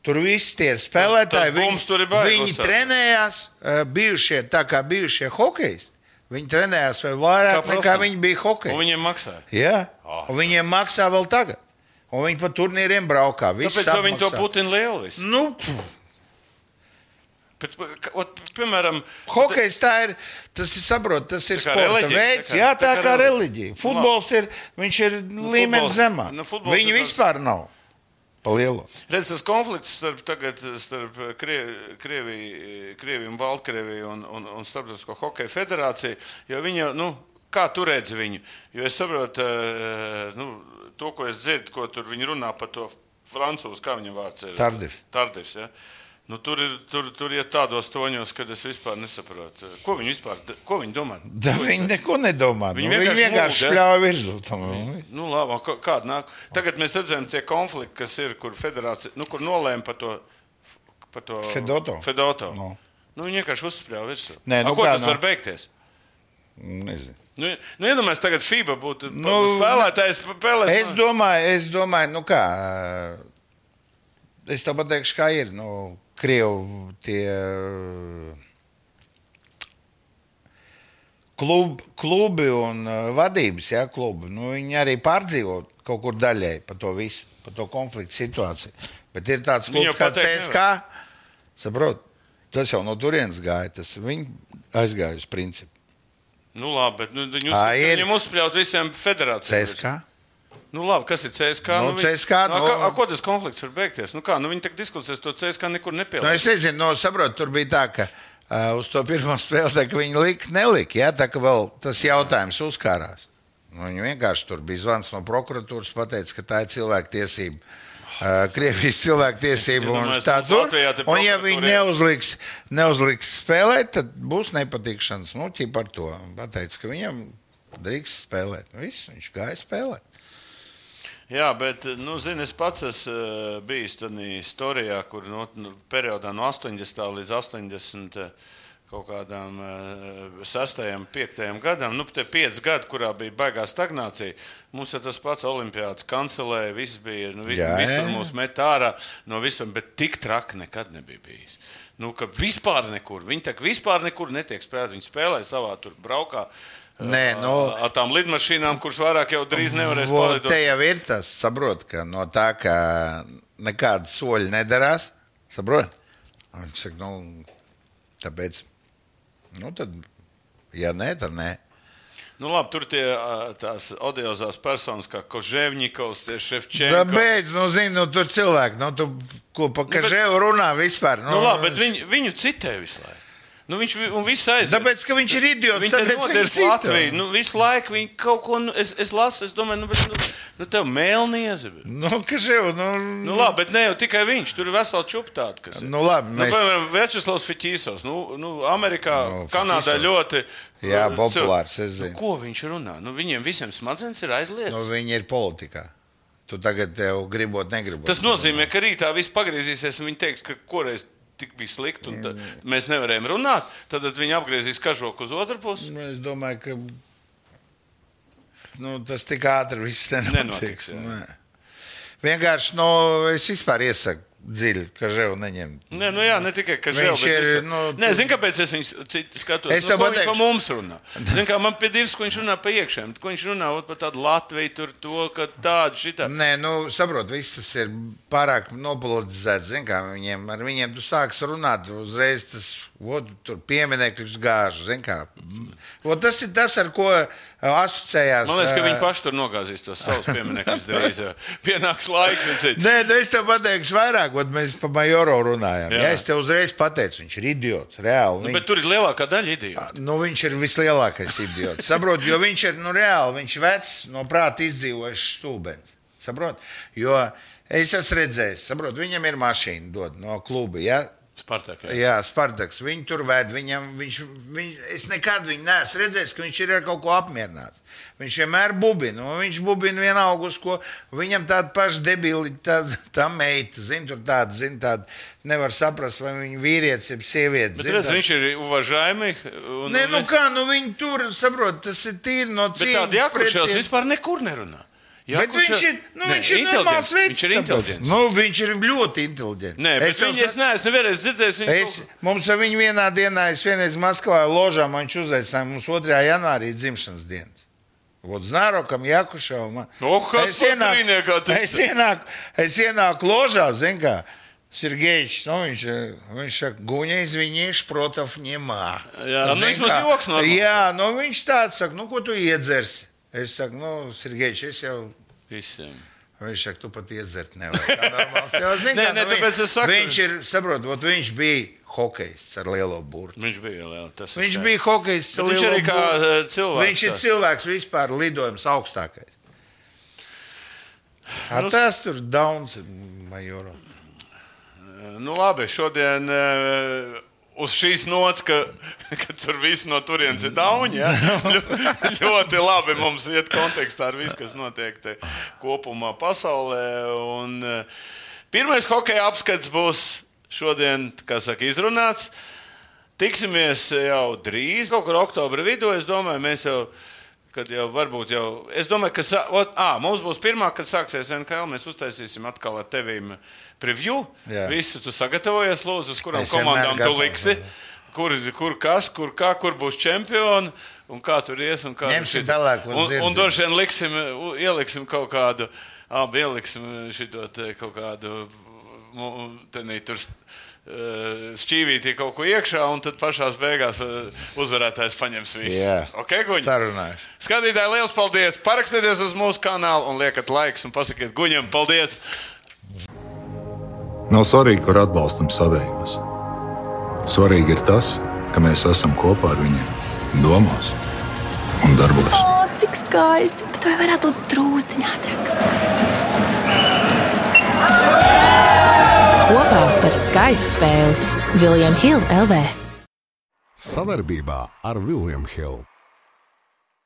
[SPEAKER 3] Tur viss tie spēlētāji,
[SPEAKER 2] Tas- tas bums tur ir baigos,
[SPEAKER 3] viņi
[SPEAKER 2] saka.
[SPEAKER 3] trenējās, eh, bijušie, tā kā bijušie hokejisti. Viņi trenējās vēl vairāk
[SPEAKER 2] Kā
[SPEAKER 3] kā nekā
[SPEAKER 2] profesionāli.
[SPEAKER 3] viņi bija
[SPEAKER 2] Un
[SPEAKER 3] hokeji.
[SPEAKER 2] viņiem maksāja.
[SPEAKER 3] Jā,
[SPEAKER 2] Ah.
[SPEAKER 3] un viņiem maksā vēl tagad. Un viņi pa turnīriem braukā. Viss
[SPEAKER 2] Tāpēc jau viņi to
[SPEAKER 3] apmaksā.
[SPEAKER 2] Putinu lielu visu.
[SPEAKER 3] Nu, pf,
[SPEAKER 2] Bet, ka- ot, piemēram,
[SPEAKER 3] Hokejs tā ir, tas ir, saprot, tas ir
[SPEAKER 2] Tā kā
[SPEAKER 3] sporta
[SPEAKER 2] reliģija,
[SPEAKER 3] veids,
[SPEAKER 2] tā kā-
[SPEAKER 3] jā, tā
[SPEAKER 2] tā kā
[SPEAKER 3] kā
[SPEAKER 2] reliģija.
[SPEAKER 3] reliģija. Futbols ir, viņš ir līmenis
[SPEAKER 2] futbols-
[SPEAKER 3] zemā.
[SPEAKER 2] nu, futbols ir
[SPEAKER 3] Viņu
[SPEAKER 2] tāds-
[SPEAKER 3] vispār nav. Palielo.
[SPEAKER 2] redz, tas konflikts starp, tagad, starp Krie- Krieviju, Krieviju un Baltkrieviju un, un, un Starptautisko hokeja federāciju, jo viņi, jau, nu, kā tu redzi viņu? Jo es saprotu, eh, nu, to, ko es dzirdu, ko tur viņi runā par to francūzu, kā viņam vārds ir.
[SPEAKER 3] Tardif.
[SPEAKER 2] Tardifs, ja? Nu, tur ir, tur, tur ir tādos toņos, kad es vispār nesaprotu, eh, ko viņi vispār ko viņi domā.
[SPEAKER 3] Da, viņi neko nedomā.
[SPEAKER 2] Viņi
[SPEAKER 3] Viņi nu,
[SPEAKER 2] vienkārši
[SPEAKER 3] vienkārši, viņi vienkārši
[SPEAKER 2] lūdz, ja?
[SPEAKER 3] spļāva virsū. Tam.
[SPEAKER 2] Nu, labi, un kā- kāda nāk? Tagad mēs redzam, tie konflikti, kas ir, kur federācija nu, kur nolēma par to. Par to
[SPEAKER 3] Fedoto.
[SPEAKER 2] Fedoto. No.
[SPEAKER 3] Nu.
[SPEAKER 2] Nu, viņi vienkārši uzsprāga virsū.
[SPEAKER 3] Nē,
[SPEAKER 2] Ar
[SPEAKER 3] nu
[SPEAKER 2] ko
[SPEAKER 3] kā,
[SPEAKER 2] tas
[SPEAKER 3] nu?
[SPEAKER 2] var beigties?
[SPEAKER 3] Nezinu.
[SPEAKER 2] Nu, nu, iedomājieties, tagad FIBA būtu nu,
[SPEAKER 3] Nu,
[SPEAKER 2] spēlētājs. Spēlēs,
[SPEAKER 3] Es domāju, es domāju, nu kā. Es tev pateikšu, kā ir. Nu, Krievi tie klub, klubi un eh, vadības, ja klubi, nu, viņi arī pārdzīvo kaut kur daļai par to visu, par to konfliktu situāciju. Bet ir tāds
[SPEAKER 2] Viņi
[SPEAKER 3] klubs
[SPEAKER 2] jau
[SPEAKER 3] kā
[SPEAKER 2] pateikt
[SPEAKER 3] CSK. Saprot, tas jau no turienes gāja. Tas viņi aizgāja uz principu.
[SPEAKER 2] Nu, labi, bet nu, viņi
[SPEAKER 3] Ā, ir.
[SPEAKER 2] uzspļauj uzspļaut visiem federācijām.
[SPEAKER 3] CSK.
[SPEAKER 2] Nu, labi, kas ir CSK?
[SPEAKER 3] Nu,
[SPEAKER 2] viņi-
[SPEAKER 3] CSKA,
[SPEAKER 2] nu,
[SPEAKER 3] nu-
[SPEAKER 2] kā- ar ko tas konflikts var beigties? Nu, kā, nu, viņi tagad diskusēs to CSK nekur
[SPEAKER 3] Nu, es
[SPEAKER 2] nepielikt.
[SPEAKER 3] nezinu, no, saprotu, tur bija tā, ka uh, uz to pirmo <laughs> spēli tā, ka viņi lika, nelika. Ja, tā kā vēl tas jautājums uzkārās. Nu, viņi vienkārši tur bija zvans no prokuratūras, pateica, ka tā ir cilvēktiesība ā, Krievijas cilvēktiesību
[SPEAKER 2] Ja
[SPEAKER 3] un
[SPEAKER 2] domāju,
[SPEAKER 3] tā
[SPEAKER 2] mums Latvijā te
[SPEAKER 3] tur. Un ja viņi
[SPEAKER 2] prokuratūra
[SPEAKER 3] neuzliks, neuzliks spēlēt, tad būs nepatikšanas. Nu, tie par to pateica, ka viņam drīkst spēlēt. Nu, Viss, viņš gāja spēlēt.
[SPEAKER 2] Jā, bet nu, zini, es pats esmu bijis tādā storijā, kur no, nu, periodā no 80. līdz 80. eh, kaut kādām 6. un 5. gadam, nu, tie 5 gadi, kurā bija baigā stagnācija. Mums ir tas pats Olimpijāts, kancelēja, viss bija, nu, vi,
[SPEAKER 3] Jā,
[SPEAKER 2] visur
[SPEAKER 3] jā.
[SPEAKER 2] mūs met ārā no visam, bet tik traki nekad nebija bijis. Nu, ka vispār nekur, viņi tā kā vispār nekur netiek spēlēti. Viņi spēlē savā tur braukā.
[SPEAKER 3] Nē,
[SPEAKER 2] eh,
[SPEAKER 3] nu,
[SPEAKER 2] ar tām lidmašīnām, kuras vairāk jau drīz nevarēs
[SPEAKER 3] Vo,
[SPEAKER 2] palidot.
[SPEAKER 3] Te jau ir tas, saprot, ka no tā, ka nekāda soļa nedarās, saprot? Un Viņš saka, nu, tāpēc, nu, tad, ja nē, tad nē.
[SPEAKER 2] Nu, labi, tur tie ā, tās odiozās personas, kā Koževņikovs, Šefčēns.
[SPEAKER 3] Tāpēc, nu, zini, nu, tur cilvēki, nu, tu, ko pa
[SPEAKER 2] bet-
[SPEAKER 3] kažēvu runā vispār.
[SPEAKER 2] Nu, labi, bet viņu, viņu citē visu laiku. Nu, viņš vi- un viss aiziet.
[SPEAKER 3] Tāpēc, ka viņš ir idiots.
[SPEAKER 2] Viņa ir
[SPEAKER 3] tāpēc
[SPEAKER 2] nodevis
[SPEAKER 3] cita.
[SPEAKER 2] Latviju. Nu, visu laiku viņa kaut ko, nu, es, es lasu, es domāju, nu, bet, nu, nu tev mēlniezi. bet.
[SPEAKER 3] Nu, kažēvu, nu,
[SPEAKER 2] Nu, labi, bet ne jau tikai viņš, tur ir vesela čuptāta. kas ir.
[SPEAKER 3] nu, labi,
[SPEAKER 2] Nu,
[SPEAKER 3] mēs,
[SPEAKER 2] piemēram, Večeslavs Fitīsovs. Nu, nu, Amerikā,
[SPEAKER 3] Nu,
[SPEAKER 2] no, Kanādā
[SPEAKER 3] Fitisovs.
[SPEAKER 2] ļoti
[SPEAKER 3] Jā,
[SPEAKER 2] nu,
[SPEAKER 3] populārs,
[SPEAKER 2] cilvēks.
[SPEAKER 3] es zinu.
[SPEAKER 2] Nu, ko viņš runā? Nu, viņiem visiem smadzenes ir aizliegts.
[SPEAKER 3] nu, viņi ir politikā. Tu tagad tev gribot, negribot.
[SPEAKER 2] Tas nozīmē, ka rītā viss pagriezīsies, un viņi teiks, ka koreiz tik bija slikti, un tā, mēs nevarējām runāt. Tad, tad viņi apgriezīs kažoku uz otru pusi.
[SPEAKER 3] Nu, es domāju, ka nu, tas tik ātri viss
[SPEAKER 2] Nenotiks,
[SPEAKER 3] nenotiks. nu,
[SPEAKER 2] jā.
[SPEAKER 3] Nē. Vienkārši, nu, es vispār iesaku dziļi, ka žēl neņemt.
[SPEAKER 2] Nē, nu jā, ne tikai ka žēl,
[SPEAKER 3] Viņš
[SPEAKER 2] bet
[SPEAKER 3] ir,
[SPEAKER 2] vispār.
[SPEAKER 3] nu,
[SPEAKER 2] Nē,
[SPEAKER 3] tu-
[SPEAKER 2] zini, kāpēc es viņu citu skatos?
[SPEAKER 3] Es
[SPEAKER 2] nu,
[SPEAKER 3] tev
[SPEAKER 2] ko viņš pa
[SPEAKER 3] pateikšu.
[SPEAKER 2] mums runā. Zini, kā man piedirst, ko viņš runā pa iekšēm. Ko viņš runā ot par tādu Latviju, tur to, ka tādu šitā.
[SPEAKER 3] Nē, nu, saprot, viss tas ir pārāk nopolitizēts. Zin kā, viņiem, ar viņiem tu sāks runāt, uzreiz tas ot, tur pieminekļus gāž. zin kā. Ot, Tas ir tas, ar ko uh, asociējās.
[SPEAKER 2] Man liekas, ka
[SPEAKER 3] uh,
[SPEAKER 2] viņi paši tur nogāzīs tos savus pieminekļus. drīz, jo Pienāks laiks, viņi cits.
[SPEAKER 3] Nē, nu es tev pateikšu vairāk, kad mēs par Majoru runājām.
[SPEAKER 2] Jā.
[SPEAKER 3] Jā. Ja es tev uzreiz pateicu, viņš ir idiots, reāli.
[SPEAKER 2] Nu,
[SPEAKER 3] Viņ-
[SPEAKER 2] bet tur ir lielākā daļa ideja.
[SPEAKER 3] Nu, viņš ir vislielākais idiots. Saprot, jo viņš ir nu, reāli, viņš ir vecs, no prāta izdzīvojis stūbens. Saprot, jo es esmu redzējis, saprot, viņam ir mašīna dod no kluba. Ja?
[SPEAKER 2] Spartākā.
[SPEAKER 3] Jā, Spartaks. Viņu tur ved, viņam, viņš, viņ, es nekad viņu neesmu redzējis, ka viņš ir ar kaut ko apmierināts. Viņš vienmēr bubina, un viņš bubina vienalga, uz ko viņam tāda paša debila, tā, tā meita, zina, tur tāda, zina, tāda, nevar saprast, vai viņa vīrietis ir sieviete.
[SPEAKER 2] Bet
[SPEAKER 3] zini,
[SPEAKER 2] redz,
[SPEAKER 3] tāda-
[SPEAKER 2] viņš ir uvažājami.
[SPEAKER 3] Nē, nu kā, nu viņi tur saprot, tas ir tīri no
[SPEAKER 2] Bet tādi
[SPEAKER 3] cīņas. pret
[SPEAKER 2] akušēlis
[SPEAKER 3] tiem-
[SPEAKER 2] vispār nekur nerunā.
[SPEAKER 3] Bet viņš ir, nu, viņš ir normāls veids.
[SPEAKER 2] Viņš ir inteliģents.
[SPEAKER 3] Nu, viņš ir ļoti inteliģents.
[SPEAKER 2] Nē, bet es
[SPEAKER 3] tev
[SPEAKER 2] viņu es
[SPEAKER 3] saku,
[SPEAKER 2] neesmu nevienreiz dzirdējis. Viņu
[SPEAKER 3] Es, mums ar viņu vienā dienā, es vienreiz Maskavā ložā, man viņš uzaicināja mums 2. janvārī dzimšanas dienas. Вот Знарокam, Jakušavam.
[SPEAKER 2] Nu, kas
[SPEAKER 3] es
[SPEAKER 2] par
[SPEAKER 3] ienāku-
[SPEAKER 2] trīniekā tic?
[SPEAKER 3] es ienāku, es ienāku ložā, zin kā, Sergejs, nu, viņš, eh, viņš saka, guņa izviņieši protaf nemā.
[SPEAKER 2] Jā, nu,
[SPEAKER 3] Zin
[SPEAKER 2] vismaz
[SPEAKER 3] kā,
[SPEAKER 2] joks normāls.
[SPEAKER 3] Jā, nu, viņš tāds saka, nu, ko tu iedzersi? Es saku, nu, Sergejs, es jau
[SPEAKER 2] Visiem.
[SPEAKER 3] Viņš saka, tu pat iedzert nevari. Tā normāls jau zini,
[SPEAKER 2] Nē,
[SPEAKER 3] kā,
[SPEAKER 2] nē,
[SPEAKER 3] nu,
[SPEAKER 2] tāpēc es saku-
[SPEAKER 3] Viņš ir, saprot, ot, viņš bija hokejists ar lielo burtu.
[SPEAKER 2] Viņš bija liels.
[SPEAKER 3] Viņš bija hokejists ar
[SPEAKER 2] Viņš
[SPEAKER 3] lielo
[SPEAKER 2] arī kā
[SPEAKER 3] burtu.
[SPEAKER 2] eh, cilvēks.
[SPEAKER 3] Viņš ir
[SPEAKER 2] tāds.
[SPEAKER 3] cilvēks vispār lidojums augstākais. A,
[SPEAKER 2] Nu,
[SPEAKER 3] tas tur Downs ir majoram.
[SPEAKER 2] Nu, labi, šodien eh, uz šīs nots, ka, <laughs> ka tur viss no turienes ir dauni.
[SPEAKER 3] <laughs>
[SPEAKER 2] Ja? Ļo- Ļoti labi mums iet kontekstā ar visu, kas notiek te kopumā pasaulē. Un, eh, pirmais hokeja apskats būs šodien, kā saka, izrunāts. Tiksimies jau drīz, kaut kur oktobra vidū. Es domāju, mēs jau, kad jau varbūt jau. Es domāju, ka sā, ot, à, mums būs pirmā, kad sāksies NKL. Mēs uztaisīsim atkal ar tevīm preview. Jā.
[SPEAKER 3] Jā.
[SPEAKER 2] Visu tu sagatavojies, lūdzu, uz kurām
[SPEAKER 3] Es vienmēr
[SPEAKER 2] komandām tu
[SPEAKER 3] gatavs,
[SPEAKER 2] liksi. Kur, kur kas, kur, kā, kur būs čempioni un kā tur ies. Un kā
[SPEAKER 3] Ņemsim
[SPEAKER 2] šit-
[SPEAKER 3] pelēkos
[SPEAKER 2] un, un
[SPEAKER 3] zirdziņus.
[SPEAKER 2] droši vien liksim, u- ieliksim kaut kādu, abi ieliksim šito te kaut kādu, mu- tenī tur s- eh, šķīvītī kaut ko iekšā, un tad pašās beigās eh, uzvarētājs paņems visu.
[SPEAKER 3] Jā,
[SPEAKER 2] okay, guņi?
[SPEAKER 3] sarunājuši.
[SPEAKER 2] Skatītāji, liels paldies! Parakstieties uz mūsu kanālu un liekat laiks un pasakiet guņiem paldies!
[SPEAKER 4] Nav svarīgi, kur atbalstam savējos. Svarīgi ir tas, ka mēs esam kopā ar viņiem, domās un darbos.
[SPEAKER 5] O, cik skaisti! Bet vai varētu būt drūzāk ātrāk?
[SPEAKER 6] Kopā par skaistu spēli Viljams Hilde LV.
[SPEAKER 1] Savarbībā ar William Hill.